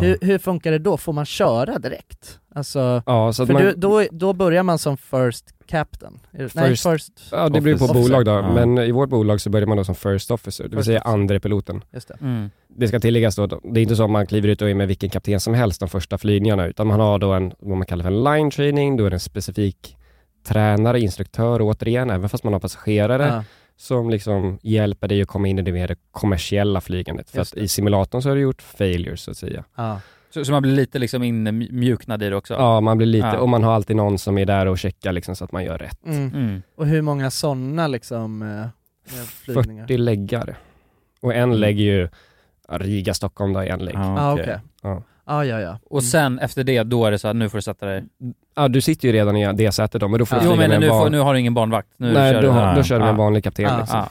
S5: hur, hur funkar det då? Får man köra direkt? Alltså,
S2: Ja, så att
S5: för
S2: man-
S5: du, då, då börjar man som first captain? Är det- Nej,
S2: First-
S5: first
S2: Ja, det beror på
S5: officer.
S2: bolag då,
S5: Ja.
S2: men i vårt bolag så börjar man då som first officer, det vill
S5: First
S2: säga
S5: officer.
S2: andre piloten.
S5: Just det.
S4: Mm.
S2: Det ska tilläggas då, det är inte så att man kliver ut och är med vilken kapten som helst de första flygningarna, utan man har då en, vad man kallar för en line training, då är det en specifik tränare, instruktör återigen, även fast man har passagerare,
S5: Ja.
S2: som liksom hjälper dig att komma in i det mer kommersiella flygandet. För
S5: Just
S2: att i simulatorn så har du gjort failures så att säga.
S5: Ja.
S4: Så, så man blir lite liksom inmjuknad i det också?
S2: Ja, man blir lite,
S4: Ja.
S2: och man har alltid någon som är där och checkar liksom så att man gör rätt.
S5: Mm.
S4: Mm.
S5: Och hur många sådana liksom eh, med flygningar?
S2: 40 läggar. Och en lägg är ju ja, Riga, Stockholm, där är en lägg.
S5: Ja, Ah, okej. Ah,
S2: Ja.
S5: Ja, ja, ja.
S2: Mm.
S4: Och sen efter det, då är det så här, nu får du sätta dig?
S2: Ja, du sitter ju redan i det sätet då, men då får du
S4: Jo
S2: flyga med
S4: men
S2: en
S4: nu, får,
S2: van-
S4: nu har du ingen barnvakt, nu
S2: Nej,
S4: kör Ah,
S2: då,
S4: du.
S2: då kör du med en
S4: Ja.
S2: vanlig kapten
S5: Ja.
S2: liksom.
S4: Ja.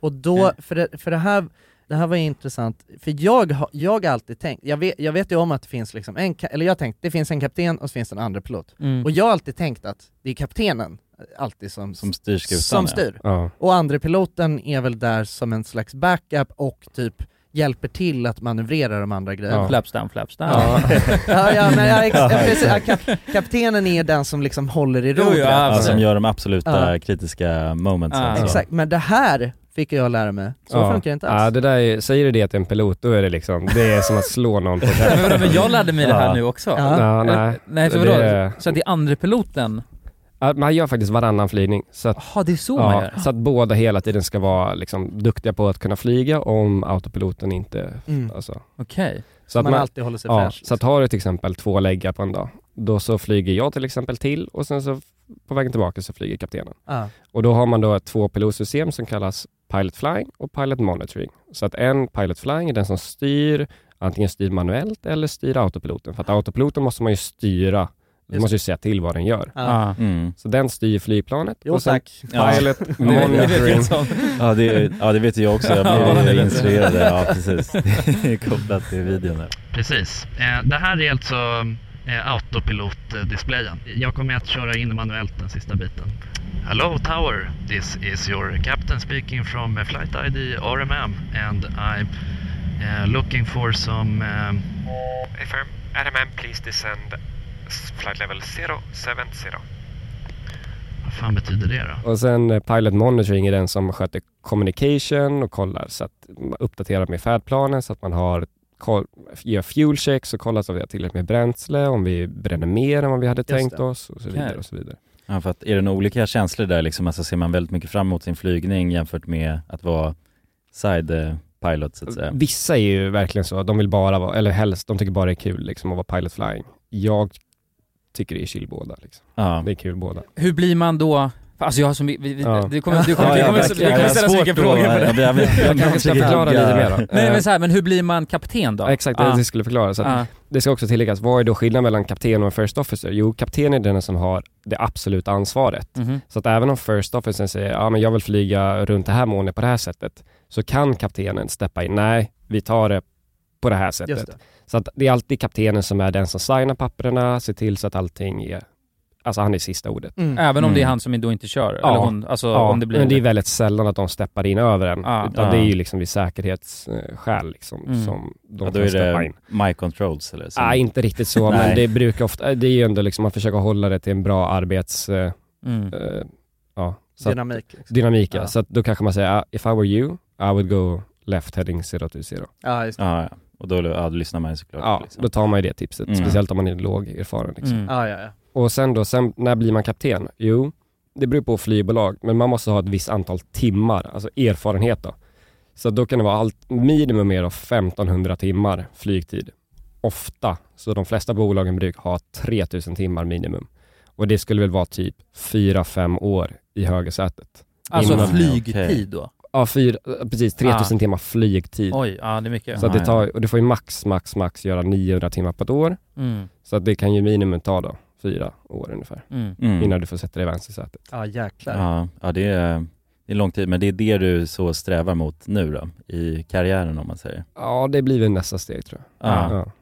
S5: Och då, för det, för det här, det här var ju intressant, för jag, har- jag har alltid tänkt, jag vet, jag vet ju om att det finns liksom en, ka- eller jag har tänkt, det finns en kapten och så finns det en andra pilot.
S4: Mm.
S5: Och jag har alltid tänkt att det är kaptenen eh, alltid som,
S3: Som styr skutan,
S5: som
S3: ja.
S5: styr.
S2: Ja.
S5: Och andra piloten är väl där som en slags backup och typ hjälper till att manövrera de andra grejerna.
S4: Ja. Flaps down, flaps down.
S5: Ja, ja, ja, men, ja, ex-
S3: Ja,
S5: ja, precis, ja,
S3: exakt.
S5: kap, kaptenen är den som liksom håller i
S4: Jo,
S5: rodret.
S4: ja,
S3: Ja, som gör de absoluta
S5: Alltså. Ja.
S3: kritiska moments.
S5: Ja.
S3: alltså.
S5: Exakt, men det här fick jag lära mig. Så funkar det inte alls.
S2: Ja, Ah, det där är, säger du det till en pilot, då är det liksom, det är som att slå någon på käften.
S4: Men vadå, men jag lärde mig det här
S2: Ja.
S4: nu också.
S2: Ja. Ja, nej.
S4: nej så
S2: Det-
S4: vadå?
S2: det-
S4: Så att det är andra piloten?
S2: Ja, Man gör faktiskt varannan flygning. Så att,
S4: Jaha, det är så man gör?
S2: Så att båda hela tiden ska vara liksom, duktiga på att kunna flyga om autopiloten inte...
S4: Mm.
S2: Alltså.
S4: Okej.
S2: Så att
S5: man alltid håller sig
S2: ja,
S5: fräsch,
S2: Så att har du till exempel två läggar på en dag, då så flyger jag till exempel till och sen så på vägen tillbaka så flyger kaptenen.
S5: Ja.
S2: Och då har man då ett tvåpilotsystem som kallas Pilot Flying och Pilot Monitoring. Så att en Pilot Flying är den som styr, antingen styr manuellt eller styr autopiloten. För att autopiloten måste man ju styra, du
S5: Just
S2: måste ju säga till vad den gör.
S5: Ja.
S3: Mm.
S2: Så den styr flygplanet.
S5: Jo,
S2: och sen
S5: tack.
S2: Pilot
S3: Ja. Det vet
S2: Monitoring.
S3: jag som. Ja, det- ja, det vet jag också. Jag blev
S1: Ja, det vet
S3: instruerad.
S1: jag.
S3: Ja, precis. Det är kopplat till videon. Här.
S13: Precis. Eh, Det här är alltså eh, autopilot-displayen. Jag kommer att köra in manuellt den sista biten. Hello Tower, this is your captain speaking from eh, flight ID RMM and I'm eh, looking for some... ehm,
S16: Affirm. RMM, please descend s- flight level 070.
S13: Vad fan betyder det då?
S2: Och sen eh, Pilot Monitoring är den som sköter communication och kollar så att man uppdaterar med färdplanen så att man har koll, gör fuel checks och kollar så att vi har tillräckligt med bränsle, om vi bränner mer än vad vi hade
S3: Just
S2: tänkt
S3: det.
S2: oss och så vidare.
S3: Okej.
S2: Och så vidare.
S3: Ja, för att är det några olika känslor där liksom, alltså ser man väldigt mycket fram emot sin flygning jämfört med att vara side eh, pilot så att säga.
S2: Vissa är ju verkligen så, de vill bara vara, eller helst, de tycker bara det är kul liksom att vara pilot flying. Jag tycker det är chill båda. Liksom. Det är kul båda.
S4: Hur blir man då? Alltså jag har som, vi, vi,
S2: Ja.
S4: du kommer, du kommer,
S2: Ja,
S4: vi
S2: ja,
S4: kommer, vi
S2: verkligen.
S4: kommer
S2: Ja,
S4: ställa så
S2: svårt
S4: mycket
S2: då.
S4: frågor på
S2: Ja,
S4: det.
S2: vi- vi- Jag kanske ska förklara lite mer då. Eh,
S4: Nej men så här, men hur blir man kapten då?
S2: Ja, exakt, det
S4: Ah.
S2: jag skulle förklara. Så att
S4: Ah.
S2: Det ska också tilläggas, vad är då skillnaden mellan kapten och en first officer? Jo, kapten är den som har det absoluta ansvaret.
S4: Mhm.
S2: Så att även om first officern säger, ja men jag vill flyga runt det här molnet på det här sättet, så kan kaptenen steppa in, nej, vi tar det på det här sättet.
S5: Just det.
S2: Så att det är alltid kaptenen som är den som signar papperna, ser till så att allting är, alltså han är sista ordet.
S4: Mm. Även om det är han som då inte kör? Eller hon, alltså
S2: ja,
S4: om det blir...
S2: men det är väldigt sällan att de steppar in över en.
S4: Ja.
S2: utan
S4: Ja.
S2: det är ju liksom vid säkerhetsskäl liksom,
S4: Mm.
S2: som de
S3: Ja, då
S2: kan
S3: är
S2: steppa
S3: det
S2: in.
S3: my controls eller? som-
S2: Nej, inte riktigt så,
S3: Nej.
S2: men det brukar ofta, det är ju ändå liksom, man försöker hålla det till en bra arbets... eh,
S4: Mm.
S2: eh, ja, så
S5: Dynamik,
S2: Att,
S5: liksom.
S2: Dynamik, ja.
S5: Ja.
S2: Så att då kanske man säger, "Ah, if I were you, I would go left heading 020.
S5: Ja, just det.
S3: Ja, ja. Och då, ja, då lyssnar man ju såklart.
S2: Ja,
S3: liksom.
S2: då tar man ju det tipset,
S3: Mm.
S2: speciellt om man är låg erfaren. Liksom.
S3: Mm.
S5: Ja, ja, ja.
S2: Och sen då, sen, när blir man kapten? Jo, det beror på flygbolag, men man måste ha ett visst antal timmar, alltså erfarenhet då. Så då kan det vara allt, minimum är då 1500 timmar flygtid. Ofta, så de flesta bolagen brukar ha 3000 timmar minimum. Och det skulle väl vara typ 4-5 år i högersätet.
S4: Alltså
S2: Innan-
S4: flygtid då?
S2: Ja, fyra, precis. 3000
S4: Ah.
S2: timmar flygtid.
S4: Oj, ja det är mycket.
S2: Så att det
S4: Ja,
S2: tar, och du får ju max, max, max göra 900 timmar på ett år.
S4: Mm.
S2: Så att det kan ju minimum ta då fyra år ungefär.
S4: Mm.
S3: Mm.
S2: Innan du får sätta dig i vänstersätet.
S5: Ja, jäklar.
S3: Ja, ja det, är, det är lång tid, men det är det du så strävar mot nu då, i karriären om man säger.
S2: Ja, det blir väl nästa steg tror jag.
S3: Ja.
S2: Ja,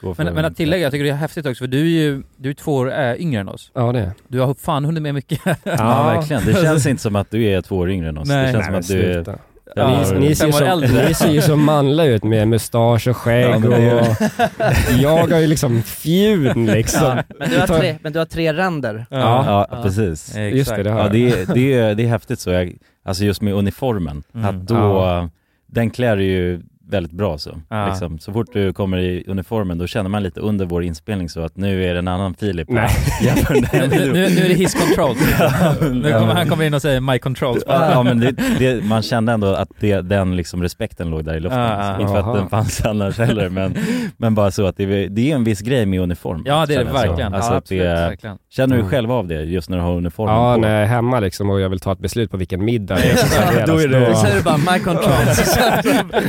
S3: Gå för-
S4: Men, men att tillägga, jag tycker det är häftigt också för du är ju du är två år äh, yngre än oss.
S2: ja det är
S4: Du har fan hunnit med mycket.
S3: ja, verkligen. Det känns inte som att du är två år yngre än oss.
S4: Nej.
S3: det känns
S4: Nej,
S3: som
S4: men
S3: att du är...
S2: sluta.
S3: Ja,
S2: ni, ni, ser
S4: fem
S2: ju
S4: år
S2: som,
S4: äldre.
S2: ni ser ju så manliga ut med mustasch och skägg
S3: Ja, men det är-
S2: och jag har ju liksom fjun liksom.
S5: Ja, men, du har tre, men du har tre ränder.
S3: Ja, ja, precis.
S4: Exakt. Just det, det har
S3: ja,
S4: jag.
S3: det, är- det, är- det är häftigt så. Jag, alltså just med uniformen,
S4: Mm.
S3: att då,
S4: Ja.
S3: den klär ju väldigt bra så.
S4: Ja.
S3: Liksom, så fort du kommer i uniformen då känner man lite under vår inspelning så att nu är det en annan Filip.
S4: Nej.
S3: Jämfört med den här
S4: nu, nu,
S3: videon.
S4: nu är det his control.
S3: Ja.
S4: nu
S3: Ja,
S4: kommer,
S3: men-
S4: han kommer in och säger my control.
S3: Ja, ja, men det, det, man kände ändå att det, den liksom respekten låg där i luften.
S4: Ja,
S3: alltså.
S4: ja.
S3: Inte för att
S4: Jaha.
S3: den fanns annars heller, men, men bara så att det, det är en viss grej med uniform.
S4: Ja, det är det
S3: Känner jag så.
S4: verkligen.
S3: Alltså
S4: Ja,
S3: att det,
S4: absolut, verkligen.
S3: Känner du
S2: Mm.
S3: själv av det just när du har uniformen
S2: Ja,
S3: på?
S2: när jag är hemma liksom och jag vill ta ett beslut på vilken middag jag ska serveras,
S3: Då är det-
S5: Så är det bara my control.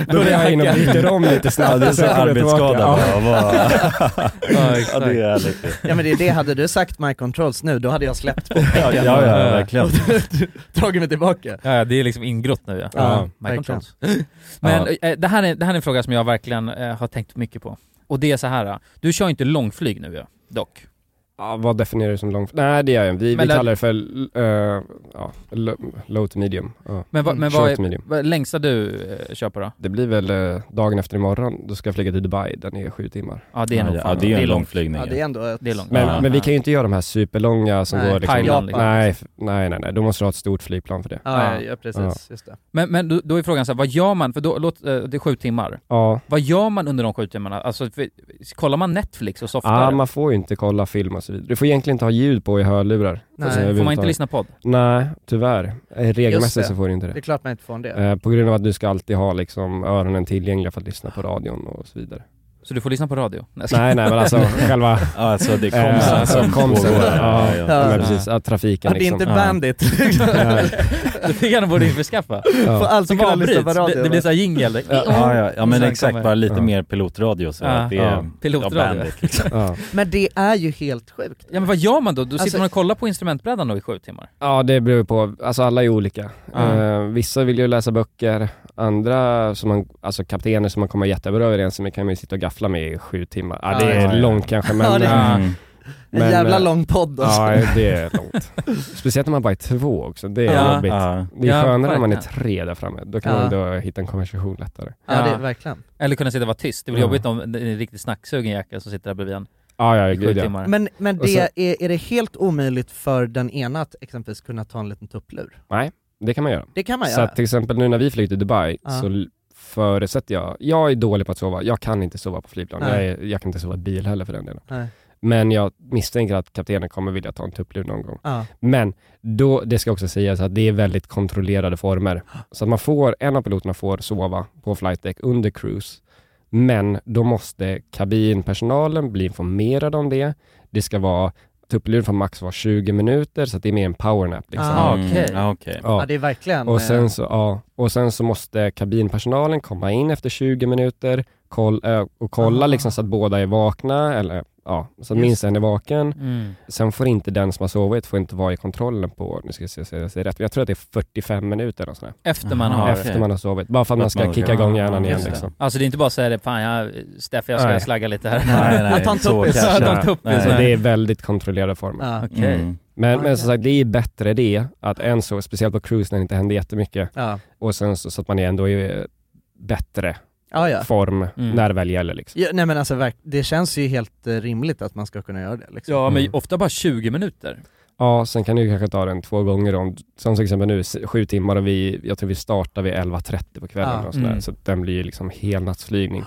S2: Då går jag in och byter om lite snabbt.
S3: Ja, du är så
S2: Sen kommer jag tillbaka.
S3: arbetsskadad
S2: Ja.
S3: bara. Bara-
S4: Ja,
S3: Ja,
S4: exakt.
S3: det är härligt.
S5: Ja men det är det, hade du sagt my controls nu, då hade jag släppt på
S3: Ja, ja, ja, verkligen.
S5: Och Dragit mig tillbaka.
S4: Ja, det är liksom ingrott nu ja.
S5: Ja,
S4: my
S5: verkligen.
S4: controls. Men
S5: Ja.
S4: eh, det, här är, det här är en fråga som jag verkligen eh, har tänkt mycket på. Och det är så här. eh, du kör ju inte långflyg nu ja, dock.
S2: Ja, vad definierar du som lång? Nej, det är en. Vi, vi
S4: Men lä-
S2: kallar det för eh, ja, lo- low to medium. Ja.
S4: Men,
S5: Mm.
S4: vad- men
S2: Short
S4: vad,
S2: to medium.
S4: är, vad längsta du eh, kör på då?
S2: Det blir väl eh, dagen efter imorgon, då ska jag flyga till Dubai, den är sju timmar.
S4: Ja, det är Ja, nog ja, fan- det är ju en det är lång långt. flygning,
S5: Ja, det är ändå ett- Det är långt.
S2: Men,
S5: Ja.
S2: men vi kan ju inte göra de här superlånga som
S5: Nej,
S2: går liksom,
S5: Thailand, liksom.
S2: nej, f- nej, nej, nej, då måste du ha ett stort flygplan för det.
S5: Ja, ja, ja, precis. Just det.
S4: Men, men då, då är frågan så här, vad gör man? För då, låt, eh, det är sju timmar.
S2: Ja.
S4: Vad gör man under de sju timmarna? Alltså, för, kollar man Netflix och softar?
S2: Ja, man får ju inte kolla film och så vidare. Du får egentligen inte ha ljud på i hörlurar.
S4: Nej.
S2: Alltså,
S4: Får man inte
S2: överhuvudtaget.
S4: lyssna podd?
S2: Nej, tyvärr. Eh,
S5: Just det.
S2: Regelmässigt så får du inte det.
S5: Det är klart man inte får det.
S2: Eh, På grund av att du ska alltid ha liksom öronen tillgängliga för att lyssna på radion och så vidare.
S4: Så du får lyssna på radio? jag ska-
S2: Nej, nej men alltså själva...
S4: Ja, alltså, det är komsen
S2: Eh,
S4: som
S2: komsen.
S4: pågår.
S2: Ja,
S4: Ja,
S2: ja,
S4: ja.
S2: men precis. Ja, trafiken
S4: Ja, det är
S2: liksom.
S4: inte Bandit. Det tycker jag de borde införskaffa.
S2: Ja.
S4: Som
S5: alltid kunna lyssna på
S4: avbryts.
S5: radio,
S4: Det, det
S5: va?
S4: blir såhär jingel.
S3: Ja, ja, ja men exakt, bara lite
S4: Ja.
S3: mer pilotradio så
S4: Ja.
S3: att det är
S4: Ja. Pilotradio.
S3: ja, bandit, liksom.
S5: Men det är ju helt sjukt.
S4: Ja men vad gör man då? Då sitter
S5: Alltså-
S4: man och kollar på instrumentbrädan då i sju timmar?
S2: Ja, det beror ju på. Alltså alla är olika.
S4: Ja.
S2: Eh, vissa vill ju läsa böcker, andra, som man, alltså kaptener som man kommer jättebra överens med kan man ju sitta och gaffla med i sju timmar. Ja, det
S5: Ja,
S2: är
S5: ja, ja.
S2: långt kanske men...
S5: Ja, det är-
S2: eh,
S4: Mm.
S5: En jävla lång podd, alltså.
S2: Ja, det är långt. Speciellt när man bara är två också, det är
S5: Ja.
S2: jobbigt.
S5: Ja.
S2: Det är
S5: Ja,
S2: skönare när man är
S5: verkligen.
S2: tre där framme. Då kan
S5: Ja.
S2: man då hitta en konversation lättare.
S5: verkligen.
S4: Eller kunna sitta och vara tyst. Det blir
S2: Ja.
S4: jobbigt om det är en riktigt snacksugen jäkel som sitter där bredvid en.
S2: Ja, ja,
S4: I sju
S2: gud, ja.
S4: timmar.
S5: Men, men
S2: Och
S5: det,
S2: så-
S5: är, är det helt omöjligt för den ena att exempelvis kunna ta en liten tupplur?
S2: Nej, det kan man göra.
S5: Det kan man
S2: så
S5: göra.
S2: att till exempel nu när vi flög till Dubai
S5: Ja.
S2: så l- förutsätter jag, jag är dålig på att sova, jag kan inte sova på flygplan,
S5: Nej.
S2: jag, är, jag kan inte sova i bil heller för den delen.
S5: Nej.
S2: Men jag misstänker att kaptenen kommer vilja ta en tupplur någon gång.
S5: Ja.
S2: Men då, det ska också sägas att det är väldigt kontrollerade former. Så att man får, en av piloterna får sova på flight deck under cruise. Men då måste kabinpersonalen bli informerad om det. Det ska vara, tuppluren får max vara 20 minuter så att det är mer en powernap. Liksom.
S5: Ah, Mm, okej. ah, okej. Ja, det är verkligen,
S2: Och
S5: eh,
S2: sen så, ja. och sen så måste kabinpersonalen komma in efter 20 minuter koll, ö, och kolla liksom så att båda är vakna, eller ja, så att
S5: Ah. Just
S2: minst en är vaken.
S5: Mm.
S2: Sen får inte den som har sovit, får inte vara i kontrollen på, nu ska jag se så jag säger rätt, jag tror att det är 45 minuter eller sådär.
S4: Efter man har...
S2: Efter man har sovit, bara för att man ska kicka igång hjärnan igen
S4: Just det.
S2: liksom.
S4: Alltså det är inte bara att säga det, fan jag, Steffe jag ska
S2: Nej.
S4: slagga lite här.
S2: Ja,
S4: Ta en tuppis.
S2: Nej, det är väldigt kontrollerade former.
S4: Ja. Okej. Mm.
S2: Men, men som sagt, det är bättre det, att än så, speciellt på cruise när det inte händer jättemycket,
S5: Ja.
S2: och sen så, så att man är ändå i eh, bättre
S5: Ja, ja.
S2: form
S5: Mm.
S2: när det väl gäller. Liksom.
S5: Ja, nej men alltså verk- det känns ju helt eh, rimligt att man ska kunna göra det liksom.
S4: Ja men ofta bara 20 minuter.
S2: Ja, sen kan du ju kanske ta den två gånger om, som till exempel nu, s- sju timmar och vi, jag tror vi startar vid 11.30 på kvällen
S5: Ja.
S2: och sådär,
S5: Mm.
S2: så att den blir ju liksom helnattsflygning.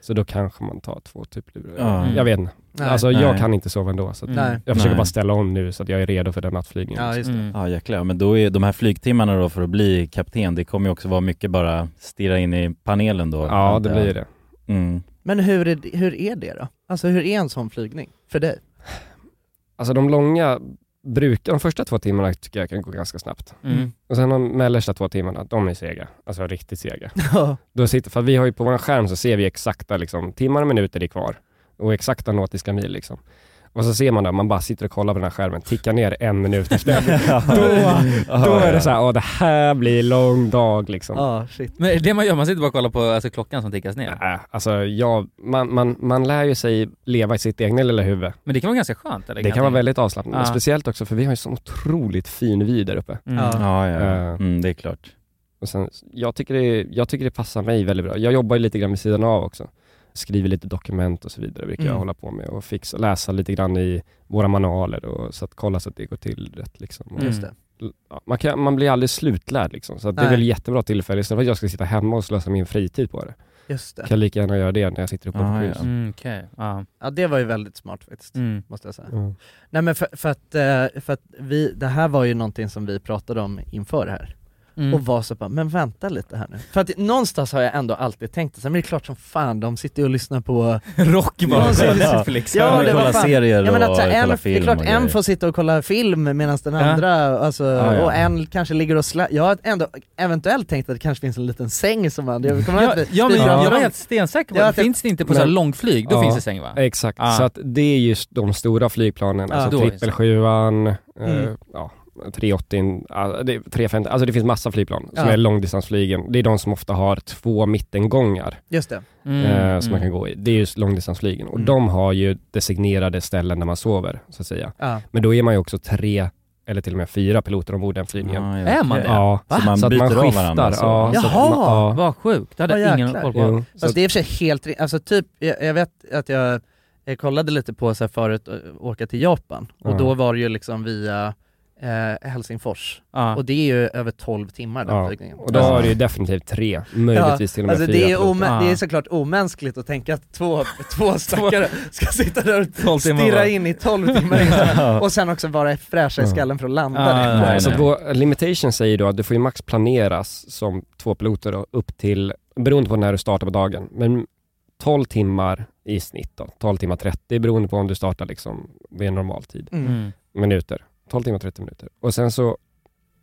S2: Så då kanske man tar två tupplurar.
S5: Ja.
S2: Jag vet inte.
S5: Nej.
S2: Alltså mm.
S3: Nej.
S2: jag kan inte sova ändå, så att
S5: Nej.
S2: jag försöker
S3: Nej.
S2: bara ställa om nu så att jag är redo för den nattflygningen.
S5: Ja, just
S4: Mm.
S5: det.
S3: Ja jäklar, men då är de här flygtimmarna då för att bli kapten, det kommer ju också vara mycket bara stirra in i panelen då.
S2: Ja, det blir det.
S3: Mm.
S5: Men hur är, det- hur är det då? Alltså hur är en sån flygning för dig?
S2: Alltså de långa brukar, de första två timmarna tycker jag kan gå ganska snabbt.
S5: Mm.
S2: Och sen de mellersta två timmarna, de är sega. Alltså riktigt sega.
S5: Ja.
S2: Då sitter, för vi har ju på vår skärm så ser vi exakta liksom, timmar och minuter det är kvar. Och exakta nautiska mil liksom. Och så ser man där, man bara sitter och kollar på den här skärmen, tickar ner en minut efter. då, då är det så här, åh det här blir lång dag liksom.
S4: Men är det det man gör, man sitter bara och kollar på alltså, klockan som tickas ner.
S2: Nej, alltså jag, man, man, man lär ju sig leva i sitt egna lilla huvud.
S4: Men det kan vara ganska skönt eller?
S2: Det kan vara väldigt avslappnande.
S4: Ja.
S2: Speciellt också för vi har ju så otroligt fin vy där uppe.
S4: Mm. Ja.
S3: Ja, ja, ja.
S2: Eh,
S3: Mm, det är klart.
S2: och sen, jag, tycker det, jag tycker det passar mig väldigt bra. Jag jobbar ju lite grann vid sidan av också. Skriver lite dokument och så vidare, brukar jag
S3: Mm.
S2: hålla på med. Och fixa, läsa lite grann i våra manualer och så att kolla så att det går till rätt. Liksom. Och-
S5: Just det.
S2: Ja, man, kan, man blir aldrig slutlärd liksom. Så att det är
S5: Nej.
S2: väl jättebra tillfälle istället för att jag ska sitta hemma och slösa min fritid på det.
S5: Just det.
S2: Kan lika gärna göra det när jag sitter uppe på
S5: Ah, ja.
S2: cruise.
S4: Mm, okej. Ja.
S5: Ja det var ju väldigt smart faktiskt,
S4: Mm.
S5: måste jag säga.
S2: Mm.
S5: Nej men för, för, att, eh, för att vi, det här var ju någonting som vi pratade om inför här.
S4: Mm.
S5: Och var så bara, men vänta lite här nu. För att någonstans har jag ändå alltid tänkt det, så här, men det är klart som fan de sitter ju och lyssnar på
S4: Rock bara.
S5: De sitter-
S4: Ja. Netflix.
S5: Ja,
S4: Kolla
S5: det var fan.
S4: serier
S5: ja, men att, så här,
S4: och
S5: en,
S4: kolla
S5: Det är
S4: film
S5: klart
S4: och
S5: en
S4: grejer.
S5: får sitta och kolla film medan den andra, alltså,
S4: Ja, ja.
S5: och en kanske ligger och sla- Jag har ändå eventuellt tänkt att det kanske finns en liten säng som man, jag kommer
S4: Ja,
S5: ihåg att vi-
S4: ja, men
S5: vi-
S4: jag, jag var helt stensäker på
S5: Ja,
S4: det.
S5: att jag-
S4: Finns det inte på så här
S2: Men-
S4: långflyg, då
S2: Ja,
S4: finns det säng va?
S2: Exakt,
S4: Ja.
S2: så att det är just de stora flygplanen,
S4: Ja.
S2: alltså
S4: Då är det så.
S2: trippelsjuan, eh,
S4: Mm.
S2: ja, 380, ah, det- 350, alltså det finns massa flygplan som
S5: Ja.
S2: är långdistansflygen. Det är de som ofta har två mittengångar.
S5: Just det.
S2: eh,
S5: Mm,
S2: som man kan gå i. Det är just långdistansflygen. Och de har ju designerade ställen där man sover, så att säga.
S5: Ja.
S2: Men då är man ju också tre eller till och med fyra piloter ombord den flygningen.
S3: ja, Är man okej. det?
S2: Ja.
S3: Va? Så man byter av varandra, alltså. så.
S2: Ja, så att
S5: Jaha!
S2: man- ja.
S4: Vad sjukt, det hade
S5: Ja,
S4: ingen
S5: jäklar.
S4: koll
S2: Jo.
S4: på.
S5: Fast det är i och för sig helt ri- alltså typ, jag, jag vet att jag, jag kollade lite på så här förut, ö, åka till Japan, och
S2: Ja.
S5: då var det ju liksom via eh, Helsingfors,
S2: Ja.
S5: och det är ju över 12 timmar den
S2: Ja,
S5: flygningen.
S2: och då har du ju definitivt tre, möjligtvis till och med
S5: alltså
S2: fyra
S5: det är,
S2: piloter.
S5: omä- det är
S2: Ja.
S5: såklart omänskligt att tänka att två, två stackare ska sitta där
S2: 12
S5: och
S2: timmar
S5: stirra
S2: bara.
S5: in i 12 timmar och sen också vara fräscha i skallen för att landa. där.
S2: så att vår limitation säger då att du får ju max planeras som två piloter då, upp till, beroende på när du startar på dagen, men 12 timmar i snitt då, 12 timmar 30 beroende på om du startar liksom vid en normal tid.
S5: Mm.
S2: Minuter, 12 timmar 30 minuter. Och sen så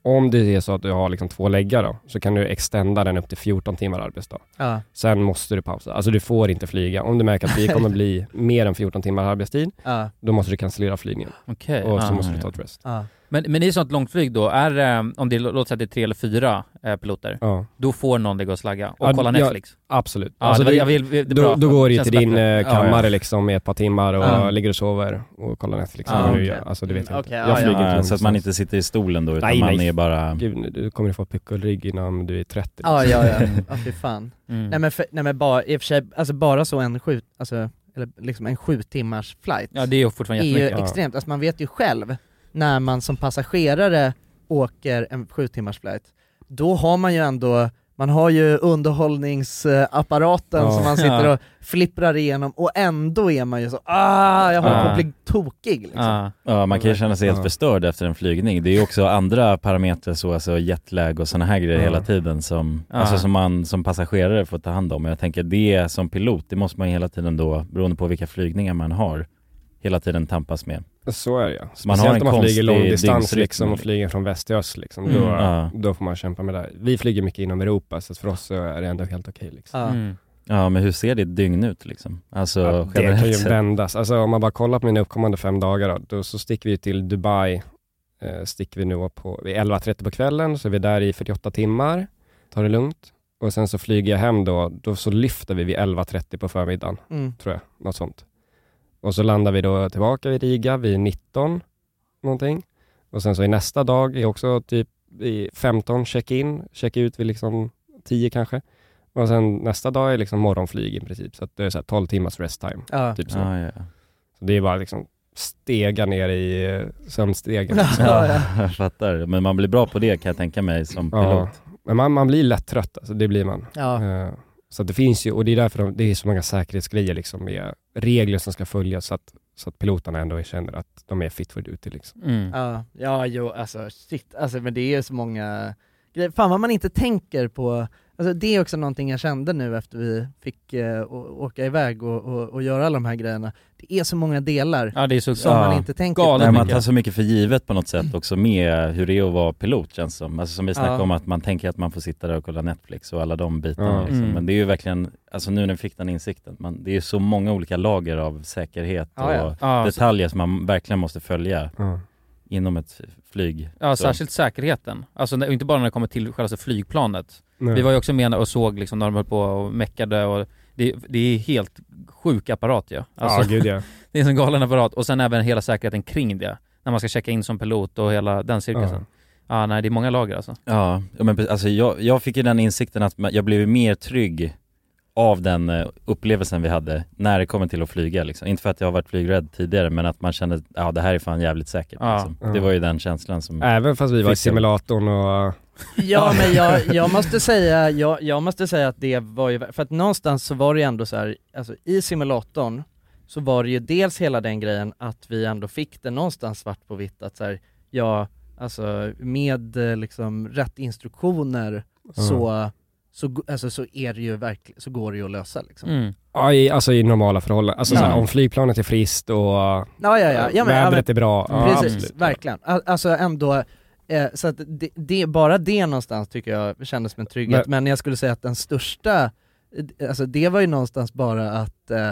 S2: om det är så att du har liksom två läggar då, så kan du extenda den upp till 14 timmar arbetsdag.
S5: Ja.
S2: Sen måste du pausa. Alltså du får inte flyga. Om du märker att vi kommer bli mer än 14 timmar arbetstid,
S5: Ja.
S2: då måste du cancellera flygningen.
S4: Okej,
S2: Och så
S4: ah,
S2: måste du
S4: ja.
S2: ta ett rest.
S5: Ja.
S4: Men, men i ett sånt långt flyg då, är, eh, om det låter sig att det är tre eller fyra eh, piloter,
S2: Ja.
S4: då får någon ligga och slagga och
S2: Ja,
S4: kolla
S2: ja,
S4: Netflix?
S2: absolut.
S4: Ja,
S2: Alltså
S4: det, var-
S2: det-
S4: jag vill, det är
S2: då,
S4: bra.
S2: då går det ju
S4: Känns
S2: till din
S4: bättre.
S2: eh,
S4: Ja, ja.
S2: kammare liksom i ett par timmar och
S4: Ja.
S2: ligger och sover och kollar Netflix.
S4: Ja,
S2: eller vad du
S4: okej.
S2: gör. Alltså det vet
S4: Mm,
S2: jag inte.
S4: okej,
S2: jag
S4: ja, ja.
S2: inte
S4: Ja, så att man
S2: någonstans.
S4: inte sitter i stolen då, utan
S2: nej,
S4: man
S2: nej.
S4: är bara-
S2: Gud, nu- du kommer få puckelrygg innan du är 30. liksom.
S5: Ja, ja, ja. Ja, fy fan.
S4: Mm.
S5: Nej men, för, nej, men bara, i och för sig, alltså bara så en sju, alltså, eller liksom en sju timmars flight.
S4: Ja, det är ju fortfarande
S5: är ju
S4: jättemycket.
S5: extremt, alltså man vet ju själv när man som passagerare åker en sju timmars flight, då har man ju ändå man har ju underhållningsapparaten
S11: Ja.
S5: som man sitter
S11: Ja.
S5: och flipprar igenom och ändå är man ju så ah, jag håller på att bli tokig liksom.
S4: Ja.
S3: Ja, man kan ju känna sig helt
S5: Ja.
S3: förstörd efter en flygning. Det är ju också andra parametrar så, alltså jetlag och sådana här grejer
S4: Ja.
S3: hela tiden som,
S4: Ja.
S3: alltså som man som passagerare får ta hand om. Och Jag tänker det som pilot, det måste man ju hela tiden då, beroende på vilka flygningar man har, hela tiden tampas med.
S2: Så är det ja.
S3: Så man har
S2: Speciellt
S3: en
S2: om man flyger
S3: konstig
S2: långdistans
S3: dygnsrytm,
S2: liksom och
S3: liksom.
S2: flyger från väst till öst liksom.
S3: Mm.
S2: Då,
S3: Ja.
S2: då får man kämpa med det. här. Vi flyger mycket inom Europa så att för oss så är det ändå helt okej liksom.
S5: Ja. Mm.
S3: Ja, men hur ser ditt dygn ut liksom? Alltså
S2: Ja, det
S3: generellt
S2: kan ju
S3: sett.
S2: vändas. Alltså om man bara kollar på mina uppkommande fem dagar då, då så sticker vi till Dubai, eh, sticker vi nu på vid 11.30 på kvällen, så är vi där i 48 timmar, tar det lugnt. Och sen så flyger jag hem då, då så lyfter vi vid 11.30 på förmiddagen,
S5: Mm.
S2: tror jag, något sånt. Och så landar vi då tillbaka vid Riga vid 19, någonting. Och sen så i nästa dag är också typ i 15 check-in, check-ut vid liksom 10 kanske. Och sen nästa dag är liksom morgonflyg i princip, så att det är så här 12 timmars rest time.
S5: Ja.
S2: Typ så.
S3: Ja, ja.
S2: så det är bara liksom stega ner i eh, sömnstegen. liksom.
S3: Ja, jag fattar. Men man blir bra på det kan jag tänka mig som
S2: Ja.
S3: pilot.
S2: Men man, man blir lätt trött, alltså, det blir man.
S5: Ja.
S2: Eh, Så att det finns ju, och det är därför de, det är så många säkerhetsgrejer liksom, med regler som ska följas så att, så att piloterna ändå känner att de är fit for duty. Liksom.
S4: mm.
S5: Ja, ja jo alltså shit, alltså, men det är ju så många grejer. Fan vad man inte tänker på, alltså, det är också någonting jag kände nu efter vi fick eh, å- åka iväg och, och, och göra alla de här grejerna. Det är så många delar
S4: Ja, det är så-
S5: som
S3: Ja.
S5: man inte tänker
S3: Nej,
S5: på.
S3: man tar så mycket för givet på något sätt också med hur det är att vara pilot känns som. Alltså som vi snackade
S5: Ja.
S3: om att man tänker att man får sitta där och kolla Netflix och alla de bitarna
S5: Ja.
S3: liksom.
S5: Mm.
S3: Men det är ju verkligen, alltså nu när vi fick den insikten, man, det är ju så många olika lager av säkerhet
S4: Ja,
S3: och
S4: ja. Ja,
S3: detaljer som man verkligen måste följa inom ett flyg.
S4: Ja,
S3: Så.
S4: särskilt säkerheten. Alltså när- och inte bara när det kommer till själva flygplanet.
S3: Nej.
S4: Vi var ju också med och såg liksom när de höll på och meckade och det, det är helt sjuk apparat ju. Alltså,
S2: Ja, gud, ja.
S4: det är en sån galen apparat och sen även hela säkerheten kring det. När man ska checka in som pilot och hela den cirkusen. Ja, nej det är många lager alltså.
S3: Ja, ja, men precis. alltså jag, jag fick ju den insikten att man- jag blev mer trygg av den eh, upplevelsen vi hade när det kommer till att flyga liksom. Inte för att jag har varit flygrädd tidigare men att man kände, ja det här är fan jävligt säkert
S2: Ja. Äh.
S3: liksom. Det
S2: Ja.
S3: var ju den känslan som
S2: Även fast vi var i
S3: fick jag.
S2: simulatorn och...
S5: Ja men jag, jag måste säga, jag, jag måste säga att det var ju, för att någonstans så var det ju ändå så här, alltså i simulatorn så var det ju dels hela den grejen att vi ändå fick det någonstans svart på vitt att så här, ja, alltså med eh, liksom rätt instruktioner så, så, go- alltså, så är det ju verkligen, så går det ju att lösa liksom.
S2: Mm.
S4: Mm.
S2: Ja, i, alltså i normala förhållanden. Alltså,
S5: Ja.
S2: så här, om flygplanet är friskt och ja,
S5: Ja, ja, ja. ja men, ja,
S2: vädret
S5: men,
S2: är bra. Ja,
S5: Precis,
S2: absolut.
S5: verkligen. Al- Alltså ändå, eh, så att det, det, bara det någonstans tycker jag kändes som en trygghet. Men jag skulle säga att den största, eh, alltså det var ju någonstans bara att eh,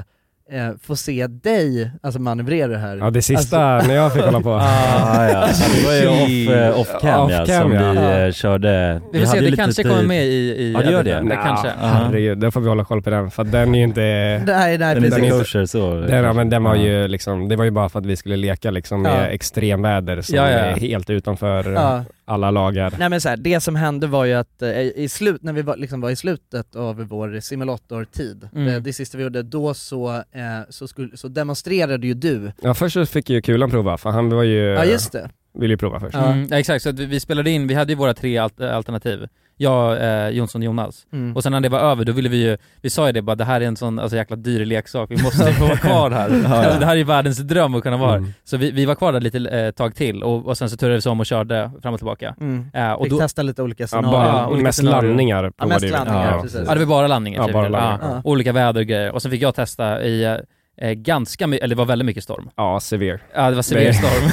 S5: eh, få se dig alltså manövrera det här.
S2: Ja, det sista
S5: alltså,
S2: när jag fick kolla på.
S3: Ah, ja. Det var ju off, eh, off cam,
S2: Off
S3: ja,
S2: cam,
S3: som
S2: ja.
S3: vi eh,
S2: Ja.
S3: körde.
S2: Vi får se,
S3: hade
S2: det
S3: ju lite
S2: kanske
S3: tid.
S2: kommer med i- i
S3: Ja, det gör det.
S2: editen. Det
S3: Ja.
S2: kanske.
S3: Ja.
S2: Herregud, då får vi hålla koll på den för att den är ju inte...
S5: nej,
S2: den är
S5: precis.
S2: inte-
S3: kosher, så.
S2: Den, ja, men den var ju liksom, det var ju bara för att vi skulle leka liksom med
S5: Ja.
S2: extremväder som
S5: Ja, ja.
S2: är helt utanför eh,
S5: Ja.
S2: alla lagar.
S5: Nej men så här, det som hände var ju att eh, i slut, när vi var, liksom var i slutet av vår simulatortid,
S2: Mm.
S5: det, det sista vi gjorde, då så, eh, så, skulle, så demonstrerade ju du.
S2: Ja, först så fick ju Kulan prova för han var ju...
S5: Ja, just det.
S2: Ville ju prova först.
S4: Mm, ja, exakt, så att vi, vi spelade in, vi hade ju våra tre alt- alternativ. Jag, eh, Jonsson och Jonas.
S5: Mm.
S4: Och sen när det var över, då ville vi ju, vi sa ju det bara, det här är en sån alltså, jäkla dyr leksak, vi måste få vara kvar här. Alltså,
S3: Ja, ja.
S4: Det här är ju världens dröm att kunna vara här.
S3: Mm.
S4: Så vi, vi var kvar där lite eh, tag till och, och sen så turades vi om och körde fram och tillbaka.
S5: Mm.
S4: Eh, och
S5: Fick testa lite olika scenarier.
S2: mest landningar Ja, provade mest vi. landningar,
S4: ja.
S2: precis.
S4: ja, det var bara landningar.
S2: Ja,
S4: typ.
S2: bara landningar.
S4: Ja. Olika väder och grejer. Och sen fick jag testa i eh, eh, ganska mycket, eller det var väldigt mycket storm.
S2: Ja, sever.
S4: Ja, det var sever storm.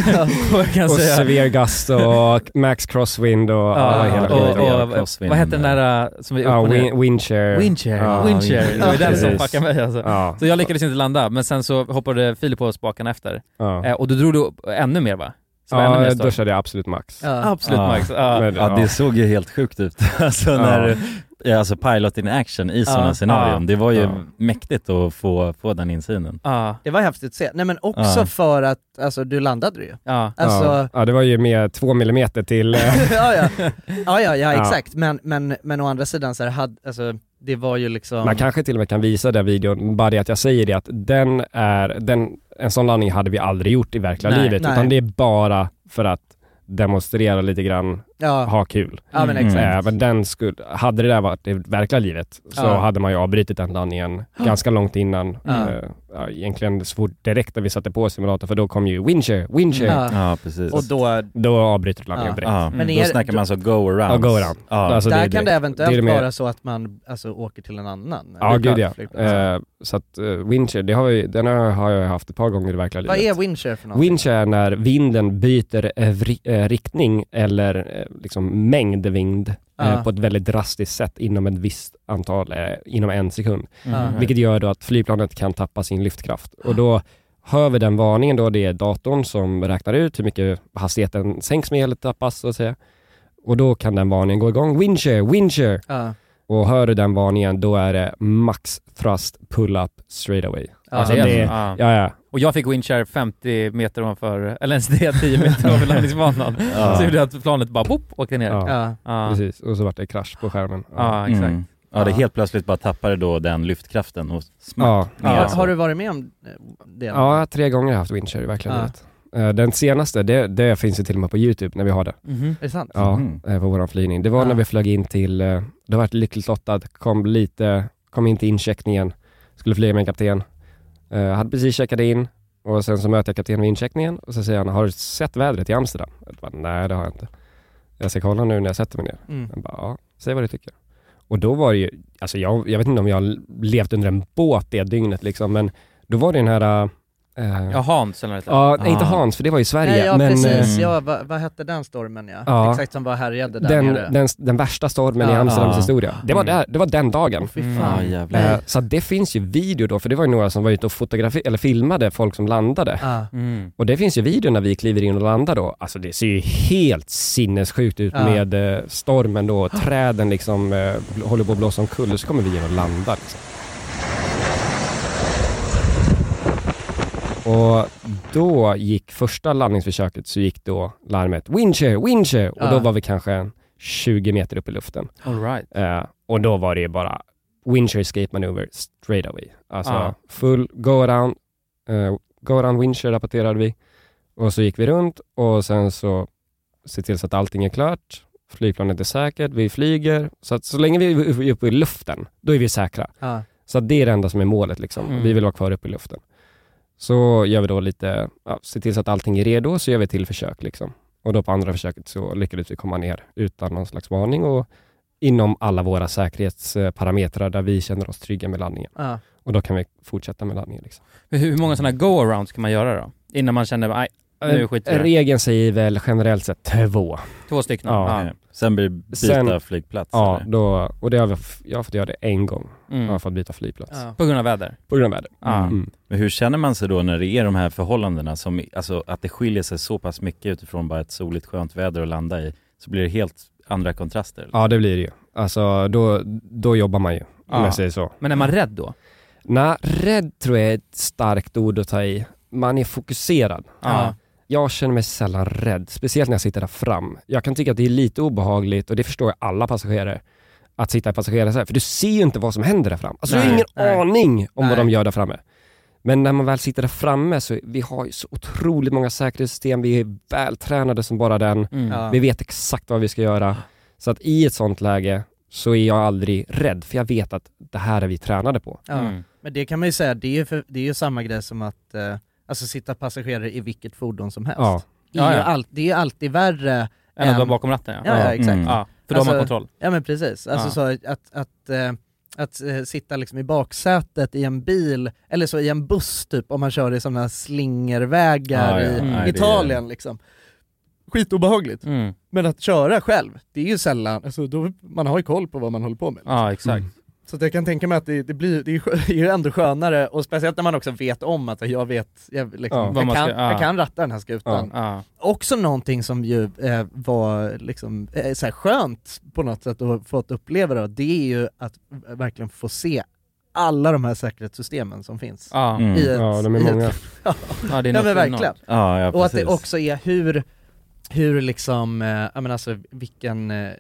S4: Får jag kan
S2: och
S4: säga.
S2: sever gust och max crosswind och alla
S4: Ja,
S2: hela
S4: och,
S2: skiten.
S4: och, vad hette den där äh, som vi
S2: Ja,
S4: upp och ner?
S2: win, windchair.
S4: Windchair,
S2: Ja,
S4: windchair. Eh, Det var den som
S2: precis.
S4: fuckade mig alltså.
S2: Ja.
S4: Så jag lyckades inte landa, men sen så hoppade Filip på spakarna efter.
S2: Ja.
S4: Eh, och då drog du upp ännu mer va? Så det var ännu
S2: Ja,
S4: mer
S2: då
S4: storm.
S2: körde jag absolut max.
S4: Ja. Absolut max. Ja.
S2: Men,
S3: ja, det såg ju helt sjukt ut. Alltså, när, ja, alltså pilot in action i sådana
S5: Ja.
S3: scenarion. Det var ju
S5: Ja.
S3: mäktigt att få, få den insynen.
S5: Det var häftigt att se. Nej men också
S3: Ja.
S5: för att, alltså du landade ju.
S4: Ja.
S5: Alltså,
S2: ja, det var ju med två millimeter till... eh,
S5: ja, ja. ja, ja, ja
S2: Ja.
S5: exakt. Men, men, men å andra sidan så här, hade, alltså, det var ju liksom...
S2: Man kanske till och med kan visa den videon, bara det att jag säger det att den är, den, en sån landning hade vi aldrig gjort i verkliga
S5: Nej.
S2: livet,
S5: Nej.
S2: utan det är bara för att demonstrera lite grann,
S5: Ja.
S2: ha kul.
S5: Ja, men exakt.
S2: Eh, men den skulle, hade det där varit i verkliga livet så
S5: Ja.
S2: hade man ju avbrutit den landningen ganska långt innan.
S5: Ja.
S2: Eh, ja, egentligen så fort direkt när vi satte på simulatorn, för då kom ju Windshare, Windshare.
S5: Ja.
S3: Ja, Mm. precis.
S5: Och då...
S2: Då avbryter du landningen
S5: Ja.
S2: direkt.
S5: Ja. Men Då är- snackar man
S3: så alltså go around.
S2: Ja, go around.
S3: Ja.
S2: Alltså,
S5: där
S2: är
S5: kan
S2: direkt.
S5: det
S2: är
S5: eventuellt
S2: mer-
S5: vara så att man alltså, åker till en annan.
S2: Ja, gud ja.
S5: flygplats, flygplats.
S2: Eh, så att uh, windchair, det har vi, den har- har jag haft ett par gånger i verkliga
S5: Vad
S2: livet.
S5: är windchair för något?
S2: Windchair är när vinden byter eh, vri- eh, riktning eller eh, liksom mängd vind eh,
S5: Ja.
S2: på ett väldigt drastiskt sätt inom ett visst antal, eh, inom en sekund.
S5: Ja.
S2: Vilket gör då att flygplanet kan tappa sin lyftkraft. Och då hör vi den varningen då, det är datorn som räknar ut hur mycket hastigheten sänks med eller tappas så att säga. Och då kan den varningen gå igång. Windchair, windchair!
S5: Ja.
S2: Och hör du den varningen, då är det max thrust pull-up straight away.
S4: Ja,
S2: alltså
S4: det är
S2: det,
S4: så. Ja.
S2: ja, ja.
S4: Och jag fick windshare 50 meter ovanför, eller ens det, 10 meter ovanför landningsbanan.
S2: Ja.
S4: Så gjorde jag att planet bara boop, åkte ner.
S2: Ja.
S4: Ja.
S2: Precis, och så vart det krasch på skärmen.
S4: Ja, exakt.
S3: Mm. Ja, det
S4: Ja.
S3: helt plötsligt bara tappade då den lyftkraften och Alltså,
S2: Ja.
S3: smack ner.
S5: Har,
S3: så.
S5: har du varit med om eh, det?
S2: alltså. Ja, tre gånger har jag haft windshare i verkligen
S5: Ja.
S2: livet. Eh, Den senaste, det, det finns ju till och med på YouTube när vi har det.
S5: Mhm. Är det sant?
S2: Ja,
S5: Mhm.
S2: eh, på våran flygning. Det var när vi flög in till, eh, det var lyckligt lottad, kom lite, kom in till incheckningen, skulle flyga med en kapten. Eh, hade precis checkat in och sen så möter jag kaptenen vid incheckningen och så säger han, har du sett vädret i Amsterdam? Jag bara, nej det har jag inte. Jag ska kolla nu när jag sätter mig ner.
S5: Mm.
S2: Han bara, ja, säg vad du tycker. Och då var det ju, alltså jag, jag vet inte om jag levt under en båt det dygnet liksom, men då var det den här... eh,
S4: Ja, Hans eller vad det heter.
S2: Ja, nej, inte
S4: Ah.
S2: Hans, för det var i Sverige.
S5: Nej, ja
S2: men,
S5: precis,
S2: eh,
S5: ja, vad, vad hette den stormen ja?
S2: Ja.
S5: Exakt som var härjade där
S2: den,
S5: nere.
S2: den, den värsta stormen i
S5: Ja.
S2: Amsterdams
S5: Ja.
S2: historia. Det var, där, det var den dagen.
S5: fy fan. Mm. Ja, jävlar.
S2: Eh, så att det finns ju video då, för det var ju några som var ute och fotograferade, eller filmade folk som landade.
S5: Ja.
S4: Mm.
S2: Och det finns ju video när vi kliver in och landar då. Alltså det ser ju helt sinnessjukt ut
S5: Ja.
S2: med eh, stormen då. Träden liksom eh, bl- håller på att blåsa omkull och så kommer vi in och landar. Liksom. Och då gick första landningsförsöket så gick då larmet Windchair, Windchair! Och
S4: Ja.
S2: då var vi kanske en 20 meter upp i luften.
S4: All right.
S2: Eh, och då var det ju bara Windchair escape maneuver straight away. Alltså
S4: Ja.
S2: full go around, eh, go around Windchair rapporterade vi. Och så gick vi runt och sen så se till så att allting är klart. Flygplanet är säkert, vi flyger. Så att så länge vi är uppe i luften, då är vi säkra.
S5: Ja.
S2: Så att det är det enda som är målet liksom.
S5: Mm.
S2: Vi vill vara kvar uppe i luften. Så gör vi då lite, ja, se till så att allting är redo, så gör vi ett till försök liksom. Och då på andra försöket så lyckades vi komma ner utan någon slags varning och inom alla våra säkerhetsparametrar där vi känner oss trygga med landningen.
S5: Ja.
S2: Och då kan vi fortsätta med landningen. Liksom.
S4: Hur hur många sådana go-arounds kan man göra då? Innan man känner, nej, Nu skiter vi i det.
S2: Regeln säger väl generellt sett två.
S4: Två stycken? Ja.
S3: eh, Sen blir byta flygplats,
S2: Ja,
S3: eller?
S2: då, och det har jag, jag har fått göra det en gång.
S4: Mm.
S2: Jag har fått byta flygplats.
S4: Ja. På grund av väder?
S2: På grund av väder.
S4: Ja.
S2: Mm.
S3: Men hur känner man sig då när det är de här förhållandena som, alltså att det skiljer sig så pass mycket utifrån bara ett soligt skönt väder att landa i, så blir det helt andra kontraster? eller?
S2: Ja, det blir det ju. Alltså, då, då jobbar man ju, om
S3: Ja.
S2: jag säger så.
S4: Men är man rädd då?
S2: Nej, rädd tror jag är ett starkt ord att ta i. Man är fokuserad.
S4: Ja.
S2: Jag känner mig sällan rädd, speciellt när jag sitter där fram. Jag kan tycka att det är lite obehagligt, och det förstår jag alla passagerare, att sitta i passagerarsätet, för du ser ju inte vad som händer där fram. Alltså, du har
S15: Nej.
S2: ingen
S15: Nej.
S2: aning om vad
S15: Nej.
S2: de gör där framme. Men när man väl sitter där framme så vi har ju så otroligt många säkerhetssystem, vi är vältränade som bara den.
S4: Mm. Ja.
S2: Vi vet exakt vad vi ska göra. Så att i ett sånt läge så är jag aldrig rädd, för jag vet att det här är vi tränade på.
S5: Ja.
S4: Mm.
S5: Men det kan man ju säga, det är ju, för, det är ju samma grej som att eh, alltså sitta passagerare i vilket fordon som helst.
S2: Ja.
S5: Det, är
S4: Ja,
S5: ju
S4: ja.
S5: All, det är ju alltid värre
S4: Än att vara bakom ratten ja.
S5: Ja, ja,
S4: Ja.
S5: exakt.
S4: Mm. Ja, för då har man kontroll.
S5: Ja men precis, alltså så att, att, eh, att eh, sitta liksom i baksätet i en bil, eller så i en buss typ, om man kör i sådana slingervägar
S4: Ja, ja.
S5: i
S4: Mm. Nej, det är-
S5: Italien liksom. Skitobehagligt.
S4: Mm.
S5: Men att köra själv, det är ju sällan, alltså då, man har ju koll på vad man håller på med.
S4: Ja, exakt.
S5: Så att jag kan tänka mig att det, det, blir, det, är, skö- det är ju ändå skönare, och speciellt när man också vet om att jag vet, jag, liksom,
S4: Ja, vad
S5: jag,
S4: man
S5: kan,
S4: ska- ja.
S5: jag kan ratta den här skutan.
S4: Ja, ja.
S5: Också någonting som ju eh, var liksom, eh, så här skönt på något sätt att ha fått uppleva då, det är ju att verkligen få se alla de här säkerhetssystemen som finns.
S4: Ja. Mm. Ja, de är
S5: i
S4: många.
S5: ja.
S4: Ja, det
S5: ja, men
S4: är något
S5: verkligen.
S4: enormt. Ja, ja,
S5: och att det
S4: precis.
S5: också är hur, hur liksom, eh, ja men alltså vilken, eh,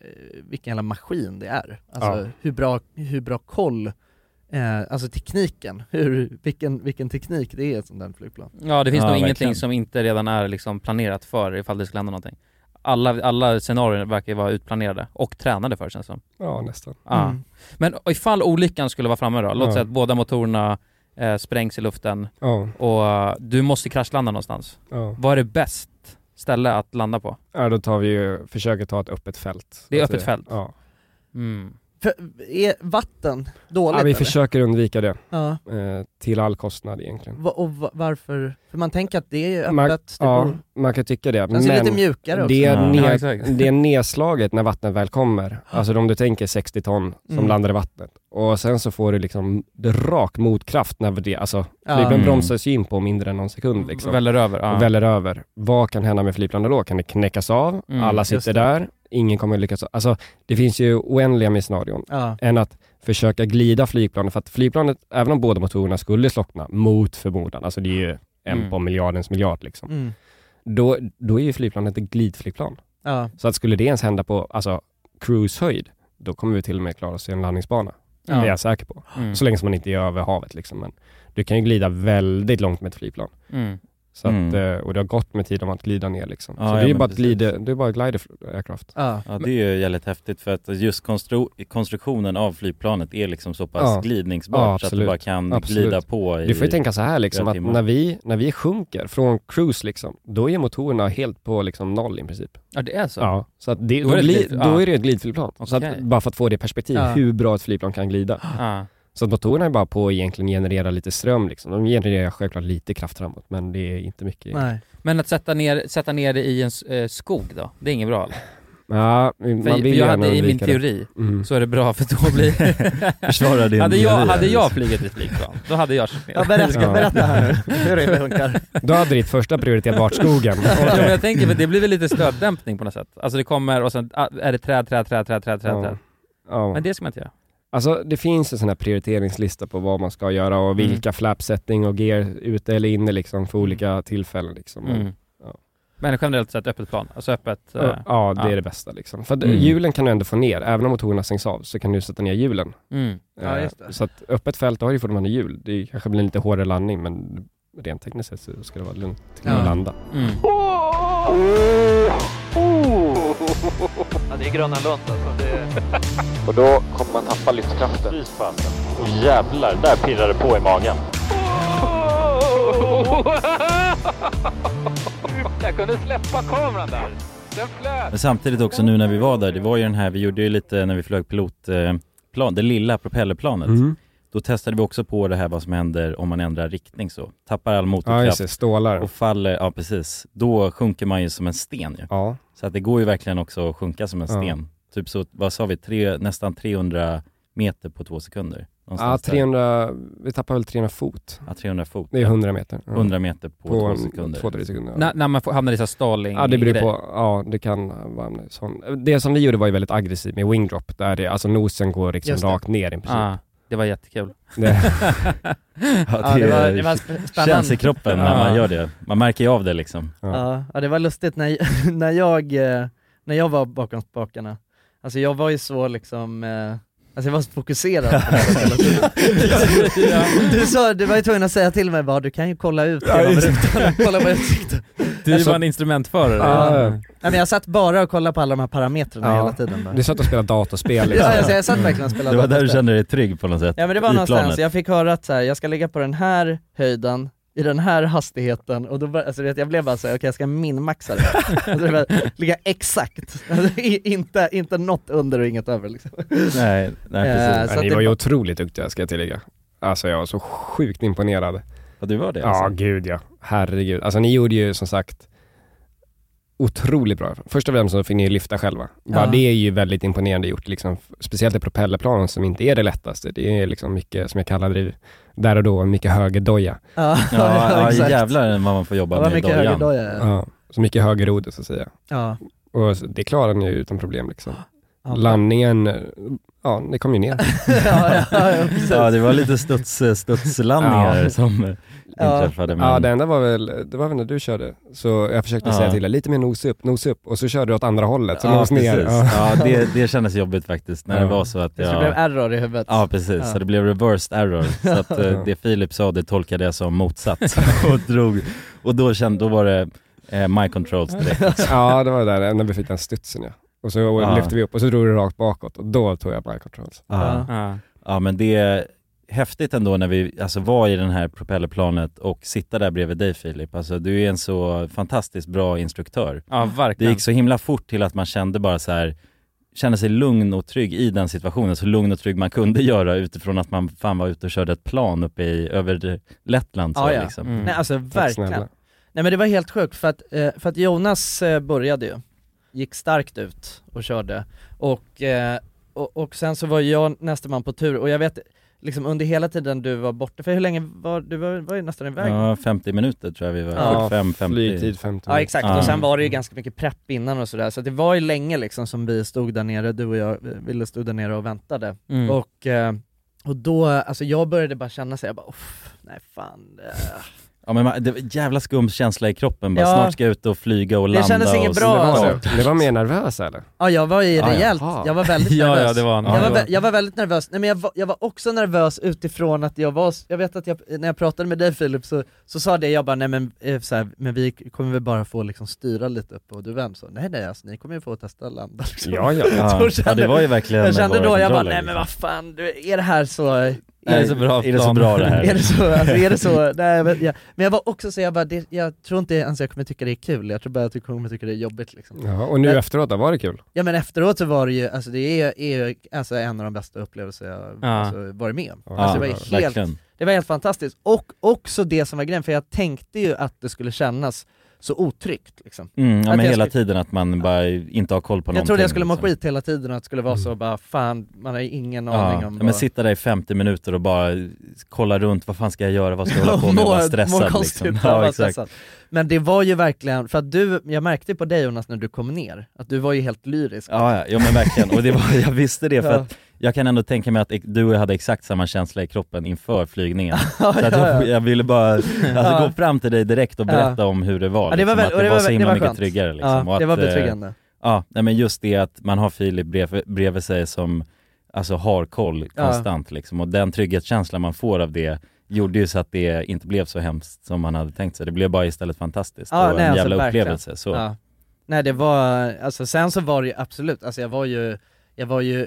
S5: vilken jävla maskin det är. Alltså
S4: Ja.
S5: hur, bra, hur bra koll, eh, alltså tekniken, hur, vilken, vilken teknik det är som den flygplan.
S4: Ja det finns nog
S3: verkligen.
S4: ingenting som inte redan är liksom planerat för ifall det skulle hända någonting. Alla, alla scenarier verkar ju vara utplanerade och tränade för känns det som.
S2: Ja, nästan.
S4: Ja.
S2: Mm.
S4: Men ifall olyckan skulle vara framme då, låt
S2: Ja.
S4: säga att båda motorerna eh, sprängs i luften
S2: Ja.
S4: och eh, du måste kraschlanda någonstans.
S2: Ja.
S4: Vad är det bäst ställe att landa på?
S2: Ja, då tar vi ju, försöker ta ett öppet fält.
S4: Det är
S2: Alltså,
S4: öppet fält?
S2: Ja.
S4: Mm.
S5: För, är vatten dåligt
S2: ja, vi
S5: eller?
S2: försöker undvika det.
S5: Ja.
S2: Eh, till all kostnad egentligen.
S5: Va- och va- varför? För man tänker att det är ju öppet,
S2: Man,
S5: det
S2: ja,
S5: bor-
S2: man kan tycka det.
S5: Den ser lite mjukare också.
S2: det är,
S5: Ja.
S2: ned,
S5: Ja, exakt.
S2: det är nedslaget när vattnet väl kommer. Alltså om du tänker 60 ton som
S5: Mm.
S2: landar i vattnet och sen så får du liksom rak motkraft när det, alltså
S4: Ja.
S2: flygplan
S4: Mm.
S2: bromsas ju in på mindre än någon sekund liksom.
S4: Väller över, ja.
S2: Och Väller över. Vad kan hända med flygplanet då? Kan det knäckas av?
S4: Mm,
S2: Alla
S4: just
S2: sitter
S4: det.
S2: där. Ingen kommer lyckas. Alltså det finns ju oändliga med scenarion.
S5: Ja.
S2: Än att försöka glida flygplanet, för att flygplanet, även om båda motorerna skulle slockna, mot förmodan, alltså det är ju en
S5: Mm.
S2: på miljardens miljard liksom.
S5: Mm.
S2: Då, då är ju flygplanet ett glidflygplan.
S5: Ja.
S2: Så att skulle det ens hända på alltså, cruisehöjd, då kommer vi till och med klara oss i en landningsbana.
S4: Ja.
S2: Det är jag säker på.
S4: Mm.
S2: Så länge som man inte är över havet liksom. Men du kan ju glida väldigt långt med ett flygplan.
S4: Mm.
S2: Så att,
S3: Mm.
S2: eh, Och det har gått med tid om att glida ner liksom.
S3: Ja,
S2: så det
S3: ja,
S2: är ju
S3: men
S2: bara, ett
S3: precis.
S2: glide, det är bara glider aircraft.
S5: Ja.
S3: Ja det är ju jävligt häftigt för att just konstru- konstruktionen av flygplanet är liksom så pass
S2: Ja.
S3: glidningsbart så att du
S2: absolut.
S3: bara kan
S2: Absolut.
S3: glida på i
S2: Du får ju tänka så här liksom,
S3: flera
S2: att
S3: timmar.
S2: när vi, när vi sjunker från cruise liksom, då är motorerna helt på liksom noll i princip.
S4: Ja det är så?
S2: Ja, så att det, då,
S4: är det ett
S2: gli,
S4: glid-
S2: då
S4: ja.
S2: är det ett glidflygplan. Så att,
S4: Okej.
S2: bara för att få det i perspektiv,
S4: Ja.
S2: hur bra ett flygplan kan glida.
S4: Ja.
S2: Så att motorerna är bara på att egentligen generera lite ström liksom. De genererar självklart lite kraft framåt, men det är inte mycket.
S4: Men att sätta ner, sätta ner det i en s- eh, skog då? Det är inget bra eller?
S2: Ja, man
S4: För, för
S2: vill
S4: jag
S2: gärna
S4: hade i min
S2: undvika det.
S4: teori,
S2: Mm.
S4: så är det bra för då blir...
S2: Försvara din
S4: hade jag,
S2: teori,
S4: hade jag
S2: Alice.
S4: flugit ett flygplan, då hade jag kört ner
S5: Ja, berätta- berätta här nu, hur det funkar.
S2: Då hade ditt första prioritet varit skogen.
S4: ja, men jag tänker, för det blir väl lite stöddämpning på något sätt? Alltså det kommer och sen ah, är det träd, träd, träd, träd, träd, träd,
S2: Ja.
S4: träd.
S2: Ja.
S4: Men det ska man inte göra.
S2: Alltså det finns en sån här prioriteringslista på vad man ska göra och vilka flapsetting och gear ute eller inne liksom för olika tillfällen liksom. Men,
S4: Mm. Men generellt sett öppet plan, alltså öppet... eh,
S2: Ja, ja, det är det bästa liksom. För att
S4: Mm.
S2: hjulen kan du ändå få ner, även om motorerna stängs av så kan du sätta ner hjulen.
S4: Mm. Ja,
S2: Eh,
S4: just det.
S2: Så att öppet fält, då har du fortfarande hjul. Det kanske blir en lite hårdare landning men rent tekniskt sett så ska det vara lugnt till
S4: Ja.
S2: att landa.
S4: Mm.
S5: Ja, det är Gröna Lund alltså.
S17: Och då kommer man tappa livskraften. Fy fasen. Och jävlar, där pirrar det på i magen.
S18: Jag kunde släppa kameran där. Den flöt.
S3: Men samtidigt också nu eh,
S2: Mm.
S3: när vi var där, det var ju den här, vi gjorde ju lite när vi flög pilotplan, det lilla propellerplanet. Då testade vi också på det här vad som händer om man ändrar riktning så. Tappar all
S2: Ja, just
S3: motorkraft
S2: det. Stålar.
S3: och faller, ja precis. Då sjunker man ju som en sten ju.
S2: Ja.
S3: Så att det går ju verkligen också att sjunka som en
S2: Ja.
S3: sten. Typ så, vad sa vi, tre, nästan 300 meter på två sekunder.
S2: Ja,
S3: Någonstans där.
S2: 300, vi tappar väl 300 fot.
S3: Ja, 300 fot.
S2: Det är 100 meter. Ja.
S3: 100 meter på,
S2: På
S3: två
S2: en-
S3: sekunder.
S2: två, tre sekunder, ja.
S4: När, när man får- hamnar i så här staling
S2: Ja, det beror
S4: grej.
S2: på. Ja, det kan vara en sån. Det som vi gjorde var ju väldigt aggressivt med wingdrop, där det, alltså nosen går liksom
S4: Just det.
S2: rakt ner i princip.
S4: Ja, det var jättekul.
S2: Det-
S3: Ja, det, känns i kroppen när man gör det. Man märker ju av det liksom.
S5: Ja, ja det var lustigt när, när, jag, eh, när jag var bakom spakarna. Alltså jag var ju så liksom, eh, alltså jag var så fokuserad på det här hela tiden.
S18: Ja.
S5: Du sa, du var ju tvungen att säga till mig bara, du kan ju kolla ut genom
S18: just det.
S5: rutan, kolla på utsikten.
S4: Du
S5: Alltså-
S4: var en instrumentförare.
S5: Ja.
S4: Ja.
S5: Nej, men jag satt bara och kollade på alla de här parametrarna hela tiden. Bara.
S2: Du satt och spelade datorspel liksom.
S5: Ja, alltså, jag satt verkligen och spelade
S3: Det var där du
S5: datorspel.
S3: kände dig trygg på något sätt.
S5: Ja men det var
S3: i
S5: någonstans,
S3: planet.
S5: jag fick höra att så här, jag ska ligga på den här höjden, i den här hastigheten och då bör, alltså, du vet, jag blev bara såhär, okej jag ska minmaxa det här. alltså, det var, Ligga exakt, alltså, i, inte, inte något under och inget över liksom.
S3: Nej, nej
S5: Eh, så
S2: precis. Men
S5: att
S2: ni
S5: det
S2: var ju
S5: var-
S2: otroligt duktiga ska jag tillägga. Alltså jag var så sjukt imponerad.
S3: Ja, du var det
S2: Ja,
S3: alltså?
S2: gud ja. Herregud. Alltså ni gjorde ju som sagt otroligt bra. Först och främst så fick ni ju lyfta själva. Bara
S15: Ja.
S2: det är ju väldigt imponerande gjort. Liksom, speciellt i propellerplanen som inte är det lättaste. Det är liksom mycket, som jag kallar det där och då, mycket högerdoja.
S5: Ja,
S3: Ja, ja, exakt. jävlar vad man får jobba
S5: Det var med i mycket dojan. högerdoja, ja.
S2: Ja, så mycket högerrodd så att säga.
S5: Ja.
S2: Och så- det klarar ni ju utan problem liksom.
S5: Ja.
S2: Landningen, eh, ja, ni kom ju ner.
S5: ja, ja,
S3: precis. Ja, det var lite studs, eh, studslandningar som inträffade. Men...
S2: Ja, det enda var väl, det var väl när du körde. Så jag försökte
S3: Ja.
S2: säga till dig, lite mer nos upp, nos upp. Och så körde du åt andra hållet, så
S3: ja,
S2: nos ner.
S3: precis. Ja, det, det kändes jobbigt faktiskt när det
S2: Ja.
S3: var så att
S2: Det
S3: jag...
S2: blev
S5: error i huvudet.
S3: Ja, precis.
S5: Ja.
S3: Så det blev reversed error. Så att eh,
S5: Ja.
S3: det Filip sa, det tolkade jag som motsatt. och drog. Och då kände, då var det eh, my controls direkt.
S2: ja, det var det där när vi fick den studsen ja. Och så
S3: Ja.
S2: lyfte vi upp och så drog du rakt bakåt och då tog jag bike controls.
S3: Ja.
S4: Ja.
S3: ja men det är häftigt ändå när vi alltså, var i den här propellerplanet och sitta där bredvid dig Filip. Alltså, du är en så fantastiskt bra instruktör.
S4: Ja, verkligen.
S3: Det gick så himla fort till att man kände bara så här kände sig lugn och trygg i den situationen, så lugn och trygg man kunde göra utifrån att man fan var ute och körde ett plan uppe i, över Lettland. Så
S5: Ja, ja.
S3: Liksom.
S5: Nej alltså verkligen. Nej men det var helt sjukt för att, eh, för att Jonas eh, började ju, gick starkt ut och körde och, eh, och, och sen så var jag nästa man på tur och jag vet liksom under hela tiden du var borta, för hur länge var du, var, var ju nästan iväg?
S3: Ja, 50 minuter tror jag vi var.
S5: Ja,
S3: 45, 50.
S2: flygtid 50
S5: Ja exakt, och sen var det ju ganska mycket prepp innan och sådär, så det var ju länge liksom som vi stod där nere, du och jag eh, ville stod där nere och väntade.
S4: Mm.
S5: Och, eh, och då, alltså jag började bara känna sig, jag bara "Uff, nej fan, eh,
S3: Ja, men man, det var en jävla skum känsla i kroppen bara.
S5: Ja.
S3: Snart ska jag ut och flyga och
S5: Det
S3: landa.
S5: kändes
S3: och
S5: inget
S3: så-
S5: bra,
S3: Det var-
S5: alltså.
S2: Ni var mer nervösa eller?
S5: Ja jag var ju
S3: Ja,
S5: rejält,
S3: jaha.
S5: jag var väldigt
S3: Ja,
S5: nervös.
S3: ja, det var han. Ja,
S5: jag,
S3: det
S5: var,
S3: var
S5: vä-
S3: han.
S5: jag var väldigt nervös, nej men jag var, jag var också nervös utifrån att jag var, jag vet att jag, när jag pratade med dig Filip så, så sa det, jag bara nej men, eh, så här, men vi kommer väl bara få liksom styra lite upp och du vänd så, nej nej alltså ni kommer ju få testa landa liksom.
S3: Ja, ja.
S5: Så
S3: Ja.
S5: jag
S3: Ja, det var ju verkligen
S5: Jag kände
S3: bara
S5: då, jag bara
S3: kontroller,
S5: nej men vad fan, du, är det här så är,
S3: Är det så bra
S5: liksom?" är det så
S3: plan?
S5: bra det här? är det så, alltså, är det så? Nej, men, jag, men jag var också så, jag bara, det, jag tror inte ens jag kommer tycka det är kul, jag tror bara att jag kommer tycka det är jobbigt liksom.
S2: Ja, och nu
S5: Men-
S2: efteråt då, var det kul?
S5: Ja men efteråt så var det ju, alltså det är, är ju alltså en av de bästa upplevelser jag
S2: Ja.
S5: alltså, varit med om.
S2: Ja,
S5: alltså, det, var ju helt,
S2: verkligen.
S5: det var helt fantastiskt, och också det som var grejen, för jag tänkte ju att det skulle kännas så otryggt liksom.
S3: Mm, ja,
S5: Att
S3: men
S5: jag
S3: hela
S5: skulle-
S3: tiden att man bara inte har koll på någonting.
S5: Jag trodde jag skulle må
S3: liksom.
S5: skit hela tiden och att det skulle vara så bara, fan man har ju ingen aning
S3: Ja,
S5: om
S3: men
S5: vad-
S3: sitta där i 50 minuter och bara kolla runt, vad fan ska jag göra, vad ska jag hålla på med,
S5: Må-
S3: och vara
S5: må
S3: stressad
S5: konstigt,
S3: liksom.
S5: ja, vara stressad. Men det var ju verkligen, för att du, jag märkte ju på dig Jonas när du kom ner, att du var ju helt lyrisk.
S3: Ja, ja, ja men verkligen. Och det var, jag visste det för
S5: Ja.
S3: att jag kan ändå tänka mig att ex- du och jag hade exakt samma känsla i kroppen inför flygningen. Så att
S5: ja, ja.
S3: jag, jag ville bara alltså,
S5: Ja.
S3: gå fram till dig direkt och berätta
S5: Ja.
S3: om hur det var.
S5: Ja, det var
S3: liksom,
S5: väl-
S3: att
S5: och
S3: det,
S5: det
S3: var
S5: var
S3: så
S5: väl-
S3: himla
S5: det var
S3: mycket
S5: skönt.
S3: tryggare. Liksom,
S5: Ja,
S3: och
S5: det
S3: att,
S5: var
S3: eh,
S5: betryggande.
S3: Ja, nej, men just det att man har Filip brev, bredvid sig som alltså, har koll
S5: Ja.
S3: konstant liksom, och den trygghetskänslan man får av det gjorde ju så att det inte blev så hemskt som man hade tänkt sig. Det blev bara istället fantastiskt
S5: Ja,
S3: och
S5: nej,
S3: en
S5: alltså,
S3: jävla
S5: verkligen.
S3: upplevelse. Så.
S5: Ja. Nej det var, alltså sen så var det ju absolut, alltså jag var ju, jag var ju eh,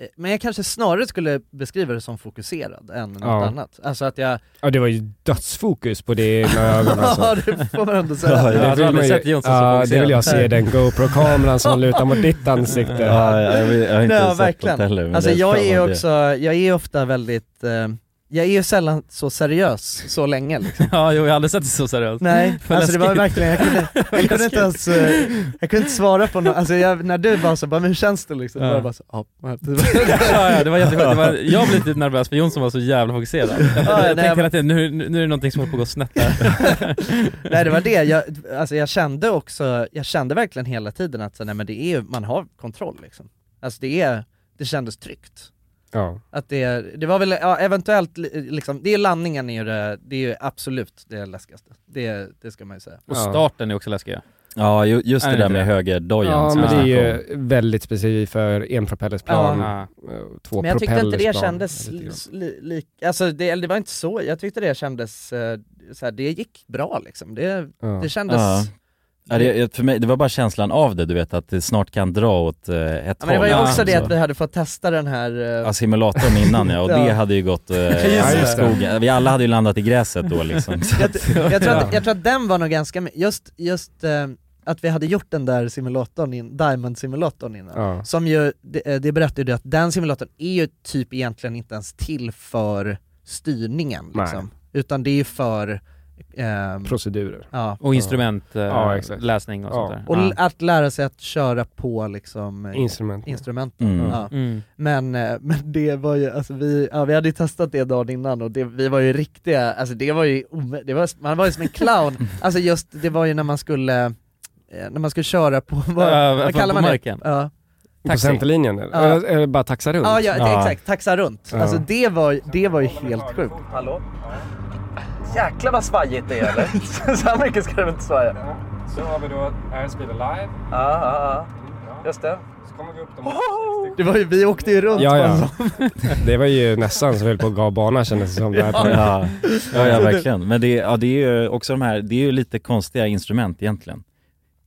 S5: Eh, Men jag kanske snarare skulle beskriva det som fokuserad än något
S2: Ja.
S5: annat. Alltså att jag...
S2: Ja, det var ju dödsfokus på det med ögonen
S5: Ja,
S2: alltså.
S5: det får man ändå säga.
S2: Ja,
S5: Jag hade
S2: vill
S5: aldrig
S2: man ju-
S5: sett Jonsson så
S2: Ja, det
S5: fokuserad.
S2: vill jag se, den GoPro-kameran som lutar mot ditt ansikte.
S3: Ja, ja, jag vet- jag har inte
S5: Nej,
S3: sett
S5: verkligen.
S3: något heller, men
S5: alltså
S3: det är
S5: jag
S3: fan
S5: är
S3: vad det-
S5: också, jag är ofta väldigt, eh, jag är ju sällan så seriös så länge liksom.
S4: Ja, jo, jag har aldrig sett det så seriöst.
S5: Nej,
S4: Men
S5: alltså det var
S4: läskigt.
S5: verkligen, jag kunde, jag kunde inte ens, eh, jag kunde inte svara på något, alltså jag, när du var så bara, men hur känns det liksom? Då
S4: Ja.
S5: var jag bara så, ja.
S4: ja, ja, det var jätteskönt. Det var, jag blev lite nervös för Jonsson var så jävla fokuserad. Jag,
S5: Ja,
S4: jag
S5: nej,
S4: tänkte
S5: men-
S4: hela tiden, nu, nu är det någonting som håller på att gå snett där.
S5: Nej det var det, jag, alltså jag kände också, jag kände verkligen hela tiden att så, nej, men det är, ju- man har kontroll liksom. Alltså det är, det kändes tryggt.
S2: Ja.
S5: Att det, det var väl, ja, eventuellt li- liksom, det är landningen är ju det, det är ju absolut det läskigaste. Det, det ska man ju säga.
S4: Och starten är också läskig.
S3: Ja, ju- just
S4: Är
S3: det
S4: inte
S3: där med högerdojan
S2: Ja,
S3: som
S2: men det
S3: vi
S2: är
S3: snackade
S2: ju väldigt specifikt för enpropellersplan.
S4: Mm.
S5: Ja.
S2: eh, Två
S5: Men jag tyckte inte det
S2: propellersplan.
S5: kändes li, li, alltså det, eller det var inte så, jag tyckte det kändes, eh, så här, det gick bra liksom. Det,
S3: Ja.
S5: det kändes,
S3: Ja. Ja, det, jag- för mig, det var bara känslan av det, du vet att det snart kan dra åt eh, ett
S5: Ja, men det var ju
S3: håll.
S5: också det
S3: Så-
S5: att vi hade fått testa den här eh,
S3: Ja, simulatorn innan ja, och
S5: Ja.
S3: det hade ju gått eh,
S5: Just
S3: i
S5: det.
S3: skogen. Vi alla hade ju landat i gräset då liksom. Så
S5: jag,
S3: att-
S5: jag, tror
S3: Ja.
S5: att, jag tror att den var nog ganska, just, just eh, att vi hade gjort den där simulatorn, in, Diamond-simulatorn innan.
S2: Ja.
S5: Som ju, det, eh, det berättade ju du att den simulatorn är ju typ egentligen inte ens till för styrningen
S2: Nej.
S5: liksom. Utan det är ju för... ehm,
S2: Procedurer.
S5: Ja.
S4: Och instrument, eh,
S2: Ja, exakt.
S4: läsning och sånt där.
S5: Och
S4: Ja.
S5: l- att lära sig att köra på liksom eh,
S2: Instrumenten.
S5: instrumenten.
S2: Mm.
S5: Ja.
S4: Mm.
S5: Men, eh, men det var ju, alltså vi, ja, vi hade ju testat det dagen innan och det, vi var ju riktiga, alltså det var ju, ome- det var, man var ju som en clown. Alltså just, det var ju när man skulle, eh, när man skulle köra på, vad,
S4: Ja,
S5: vad
S4: på-
S5: kallar
S4: på
S5: man
S4: marken.
S5: det? Ja.
S2: På centerlinjen eller?
S5: Ja.
S2: Eller, eller bara taxa runt?
S5: Ja, ja, det- exakt, taxa runt.
S2: Ja.
S5: Alltså det var, det var ju helt sjukt.
S18: Hallå?
S5: Jäklar vad svajigt det är eller? Så här mycket ska det inte svaja?
S2: Så har vi då Airspeed Alive.
S5: Ja, ja, ja. Just det.
S2: Så kommer vi upp dem.
S5: Det var ju, vi åkte ju runt
S2: Ja,
S5: på
S2: ja.
S5: en sån.
S2: Det var ju nästan som höll på att gav bana kändes det som. där på-
S3: Ja, ja, ja verkligen. Men det, ja, det är ju också de här, det är ju lite konstiga instrument egentligen.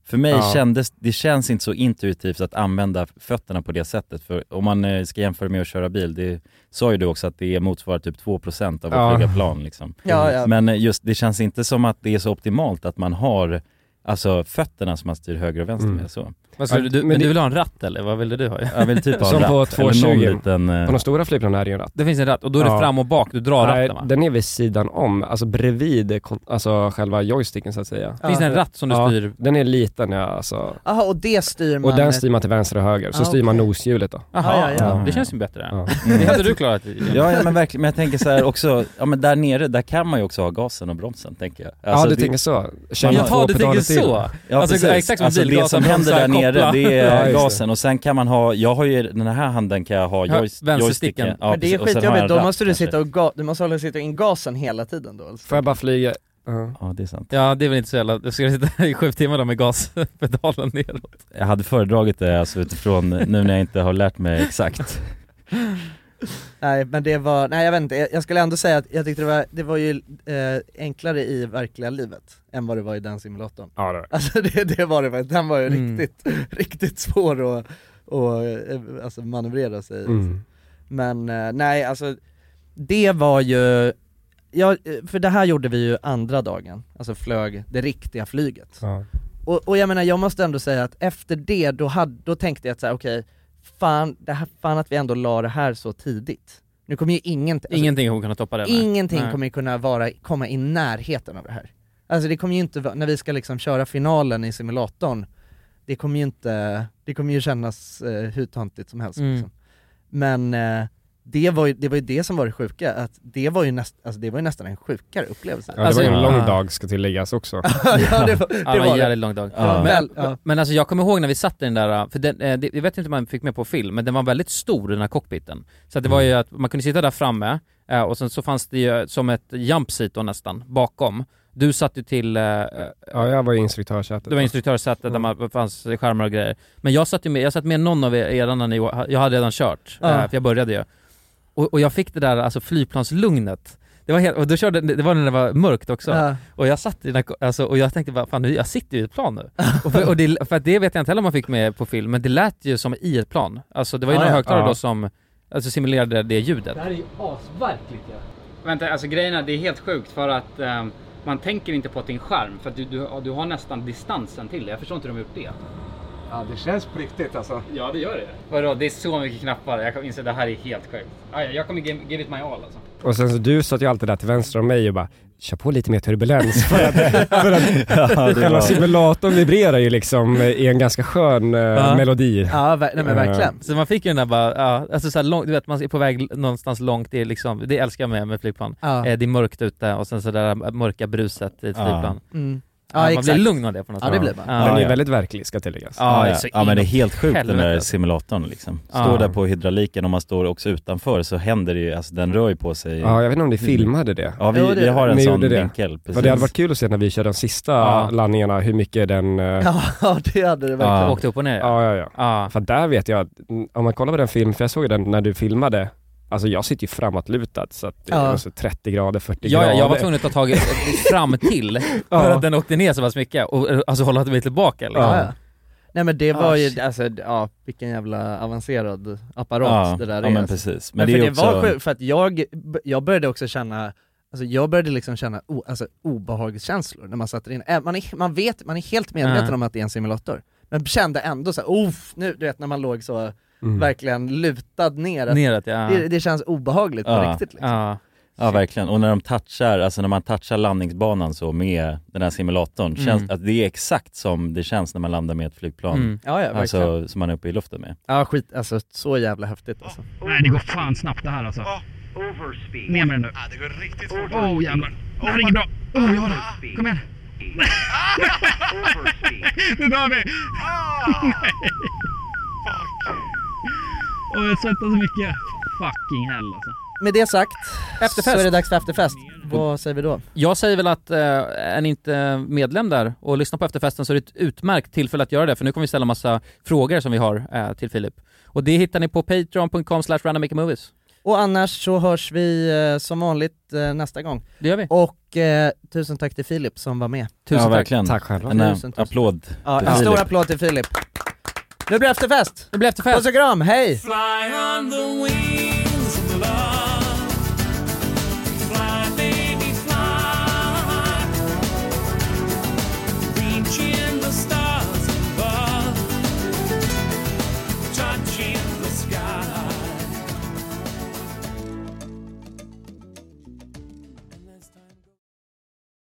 S3: För mig
S2: Ja.
S3: kändes, det känns inte så intuitivt att använda fötterna på det sättet. För om man eh, ska jämföra med att köra bil, det sa ju du också att det motsvarar typ 2% av att
S2: Ja.
S3: flyga plan liksom.
S5: Ja, ja.
S3: Men eh, just, det känns inte som att det är så optimalt att man har Alltså fötterna som man styr höger och vänster
S2: Mm.
S3: med så.
S4: Vad skulle
S2: Ja,
S4: du,
S2: men
S4: men
S2: det-
S4: du vill ha en ratt eller? Vad ville du ha?
S3: Jag vill typ ha en
S2: Som på
S3: ratt, eller någon
S2: 220.
S3: liten... eh,
S2: På de stora flygplanen är det ju en ratt.
S4: Det finns en ratt och då är det
S2: Ja.
S4: fram och bak, du drar
S2: Nej,
S4: ratten va?
S2: den är vid sidan om, alltså bredvid kon- alltså själva joysticken så att säga.
S4: Finns det en ratt som du
S2: ja,
S4: styr?
S2: Den är liten ja, alltså.
S5: Jaha, och det styr man...
S2: Och den styr man till vänster och höger, så
S5: Ah,
S2: styr man
S5: okej.
S2: noshjulet då.
S4: Jaha, Mm.
S5: Ja, ja, ja.
S4: det känns ju bättre.
S2: Ja.
S4: Det hade du klarat. i-
S3: Ja, ja men verkligen, men jag tänker så här också, ja men där nere, där kan man ju också ha gasen och bromsen tänker jag. Alltså,
S2: Ja, du tänker så. Känn
S4: Jaha,
S2: två
S4: du
S2: pedaler
S4: tänker
S2: till.
S4: så?
S3: Ja,
S4: Alltså,
S3: precis.
S4: exakt som
S3: alltså det
S4: bilgasen,
S3: som händer
S4: bromsar,
S3: där nere
S4: koppla.
S3: det
S2: Ja,
S3: är
S2: just det.
S3: gasen och sen kan man ha, jag har ju den här handen kan jag ha
S4: Ja,
S3: joyst-
S4: vänstersticken.
S3: joysticken. Ja,
S5: men det är
S3: precis. Och sen har
S5: skitjobbigt,
S3: jag en
S5: då
S3: ratt
S5: måste du
S3: kanske.
S5: sitta och ga- du måste hålla sitta in gasen hela tiden då alltså.
S2: Får jag bara flyga? Ja. Mm.
S3: Ja det är sant.
S4: Ja, det är väl inte så jävla... Du ska sitta i sju timmar då med gaspedalen neråt.
S3: Jag hade föredragit det alltså utifrån nu när jag inte har lärt mig exakt.
S5: Nej men det var, nej jag vet inte, jag jag skulle ändå säga att jag tyckte det var, det var ju eh, enklare i verkliga livet än vad det var i den simulatorn.
S2: Ja, det var det.
S5: Alltså det, det var det faktiskt, den var ju
S4: Mm.
S5: riktigt, riktigt svår att, att eh, alltså, manövrera sig i.
S2: Mm.
S5: Men eh, nej alltså, det var ju, ja, eh, för det här gjorde vi ju andra dagen, alltså flög det riktiga flyget.
S2: Ja.
S5: Och, och jag menar, jag måste ändå säga att efter det, då, hade, då tänkte jag att så här, okej, fan, det här, fan att vi ändå la det här så tidigt. Nu kommer ju inget, alltså,
S4: Ingenting kommer kunna toppa det. nej.
S5: ingenting
S4: Nej.
S5: kommer ju kunna vara, komma i närheten av det här. Alltså det kommer ju inte, vara- när vi ska liksom köra finalen i simulatorn, det kommer ju inte, det kommer ju kännas eh, hur töntigt som helst
S4: Mm.
S5: liksom. Men eh, det var, ju, det var ju det som var det sjuka, att det var ju, näst, alltså det var ju nästan en sjukare upplevelse.
S2: Ja, det
S4: Alltså,
S2: var ju en
S4: ja.
S2: lång dag ska tilläggas också.
S5: ja, det var
S4: Ja, det
S5: det.
S4: var en
S5: Var det.
S4: jävligt lång dag.
S5: Det var
S3: Ja.
S5: väl,
S4: Men,
S5: ja.
S4: men alltså jag kommer ihåg när vi satt i den där, för den, eh, det, jag vet inte om man fick med på film, men den var väldigt stor den här cockpiten. Så att det var ju äh, att man kunde sitta där framme eh, och sen så fanns det ju som ett jump seat då nästan, bakom. Du satt ju till... eh,
S2: Ja, jag var ju instruktörsätet.
S4: Du var instruktörssätet där man fanns skärmar och grejer. Men jag satt ju med, jag satt med någon av er redan när ni, jag hade redan kört,
S2: Ja.
S4: eh, för jag började ju. Och, och jag fick det där alltså flygplanslugnet. Det var helt, och då körde, det var när det var mörkt också.
S5: Ja.
S4: Och jag satt i den här, alltså, och jag tänkte bara, fan nu, jag sitter ju i ett plan nu. och för, och det, för att det vet jag inte heller om man fick med på film, men det lät ju som i ett plan. Alltså det var ju
S5: Ja,
S4: några
S5: ja.
S4: högtalare
S5: Ja.
S4: då som alltså, simulerade det ljudet.
S19: Det här är ju asverkligt ja. Vänta, alltså grejen är, det är helt sjukt för att ehm, man tänker inte på att det är en skärm för att du, du, du har nästan distansen till det. Jag förstår inte hur de har gjort det.
S20: Ja, det känns på riktigt alltså.
S19: Ja, det gör det. Vadå, det är så mycket knappar. Jag inser det här är helt sjukt. Ah, ja, jag kommer give, give it my all alltså.
S2: Och sen så du satt ju alltid där till vänster om mig och bara kör på lite mer turbulens för att, för att
S5: Ja, det var-
S2: själva simulatorn vibrerar ju liksom i en ganska skön eh,
S4: Ja.
S2: melodi. Eh,
S4: Så man fick ju den där bara, ja, alltså så här långt, du vet man är på väg någonstans långt, det är liksom, det älskar jag med, med flygplan.
S5: Ja.
S4: Eh, det är mörkt ute och sen så där mörka bruset i ett
S5: Ja.
S4: flygplan.
S5: Mm. Ja,
S4: Ja, man
S5: exakt.
S4: blir lugn av det på något
S5: Ja,
S4: sätt.
S5: det blir man.
S2: Den är ju väldigt verklig ska tilläggas.
S4: Ja,
S3: ja,
S4: så
S3: ja men det är helt
S4: inåt
S3: sjukt den där
S4: helvete.
S3: simulatorn liksom.
S4: Ja.
S3: Står där på hydrauliken och man står också utanför så händer det ju, alltså den rör ju på sig.
S2: Ja, jag vet inte om ni filmade det.
S3: Ja vi, vi har en
S2: Ni
S3: sån
S2: gjorde det.
S3: vinkel.
S2: För det hade varit kul att se när vi kör de sista
S3: Ja.
S2: landningarna, hur mycket den... eh,
S5: Ja, det hade det verkligen.
S2: ja.
S4: upp och ner?
S2: Ja, ja, ja. För där vet jag, att, mm, om man kollar på den filmen, för jag såg den när du filmade, alltså jag sitter ju framåtlutad så att det
S4: Ja.
S2: var så 30 grader, 40
S4: Ja,
S2: grader.
S4: ja, jag var tvungen att ta tag i fram till för
S2: Ja.
S4: att den åkte ner så pass mycket och eh, alltså hålla mig tillbaka liksom.
S5: Ja. ja. Nej men det
S4: Ah,
S5: var ju,
S4: shit.
S5: alltså, d- ja, vilken jävla avancerad apparat
S3: Ja,
S5: det där
S3: ja,
S5: är.
S3: men
S5: alltså.
S3: precis.
S5: Men,
S3: Men
S5: för
S3: det
S5: det,
S3: är också-
S5: var sjukt, för att jag, jag började också känna, alltså jag började liksom känna o, alltså, obehagskänslor när man satte in, Äh, man är, man vet, man är helt medveten
S11: Ja.
S5: om att det är en simulator. Men kände ändå så här, "Uff", nu, du vet när man låg så
S3: Mm.
S5: verkligen lutad neråt.
S4: Neråt, ja.
S5: det, det känns obehagligt på riktigt liksom.
S4: Ja.
S3: Ja verkligen, och när de touchar, alltså när man touchar landningsbanan så med den här simulatorn,
S4: Mm.
S3: känns, att det är exakt som det känns när man landar med ett flygplan.
S5: Mm. Ja, ja,
S3: alltså
S5: verkligen.
S3: som man är uppe i luften med.
S5: Ja skit, alltså så jävla häftigt alltså.
S13: Nej, det går fan snabbt det här alltså.
S18: Overspeed.
S13: Ner med den nu.
S18: Ja, det går riktigt fort.
S13: Åh oh, jävlar. Det här är inget bra. Åh, jag har den. Kom igen. Nu dör vi!
S18: Ah!
S13: Nej. Åh, jag svettas så mycket. Fucking hell alltså.
S5: Med det sagt,
S4: Efterfest.
S5: så är det dags för efterfest. Vad säger vi då?
S4: Jag säger väl att eh, är ni inte medlem där och lyssnar på efterfesten så är det ett utmärkt tillfälle att göra det för nu kommer vi ställa massa frågor som vi har eh, till Filip. Och det hittar ni på patreon.com slash randommakermovies.
S5: Och annars så hörs vi eh, som vanligt eh, nästa gång.
S4: Det gör vi.
S5: Och eh, tusen tack till Filip som var med.
S3: Tusen Ja, tack. verkligen. Tack själva. En, eh,
S5: Tusen, tusen.
S3: applåd
S5: Ja,
S3: till
S5: en stor
S3: Filip.
S5: applåd till Filip. Nu blir det efterfest!
S4: Nu blir det efterfest!
S5: Puss och kram, hej!
S18: Fly on the wing.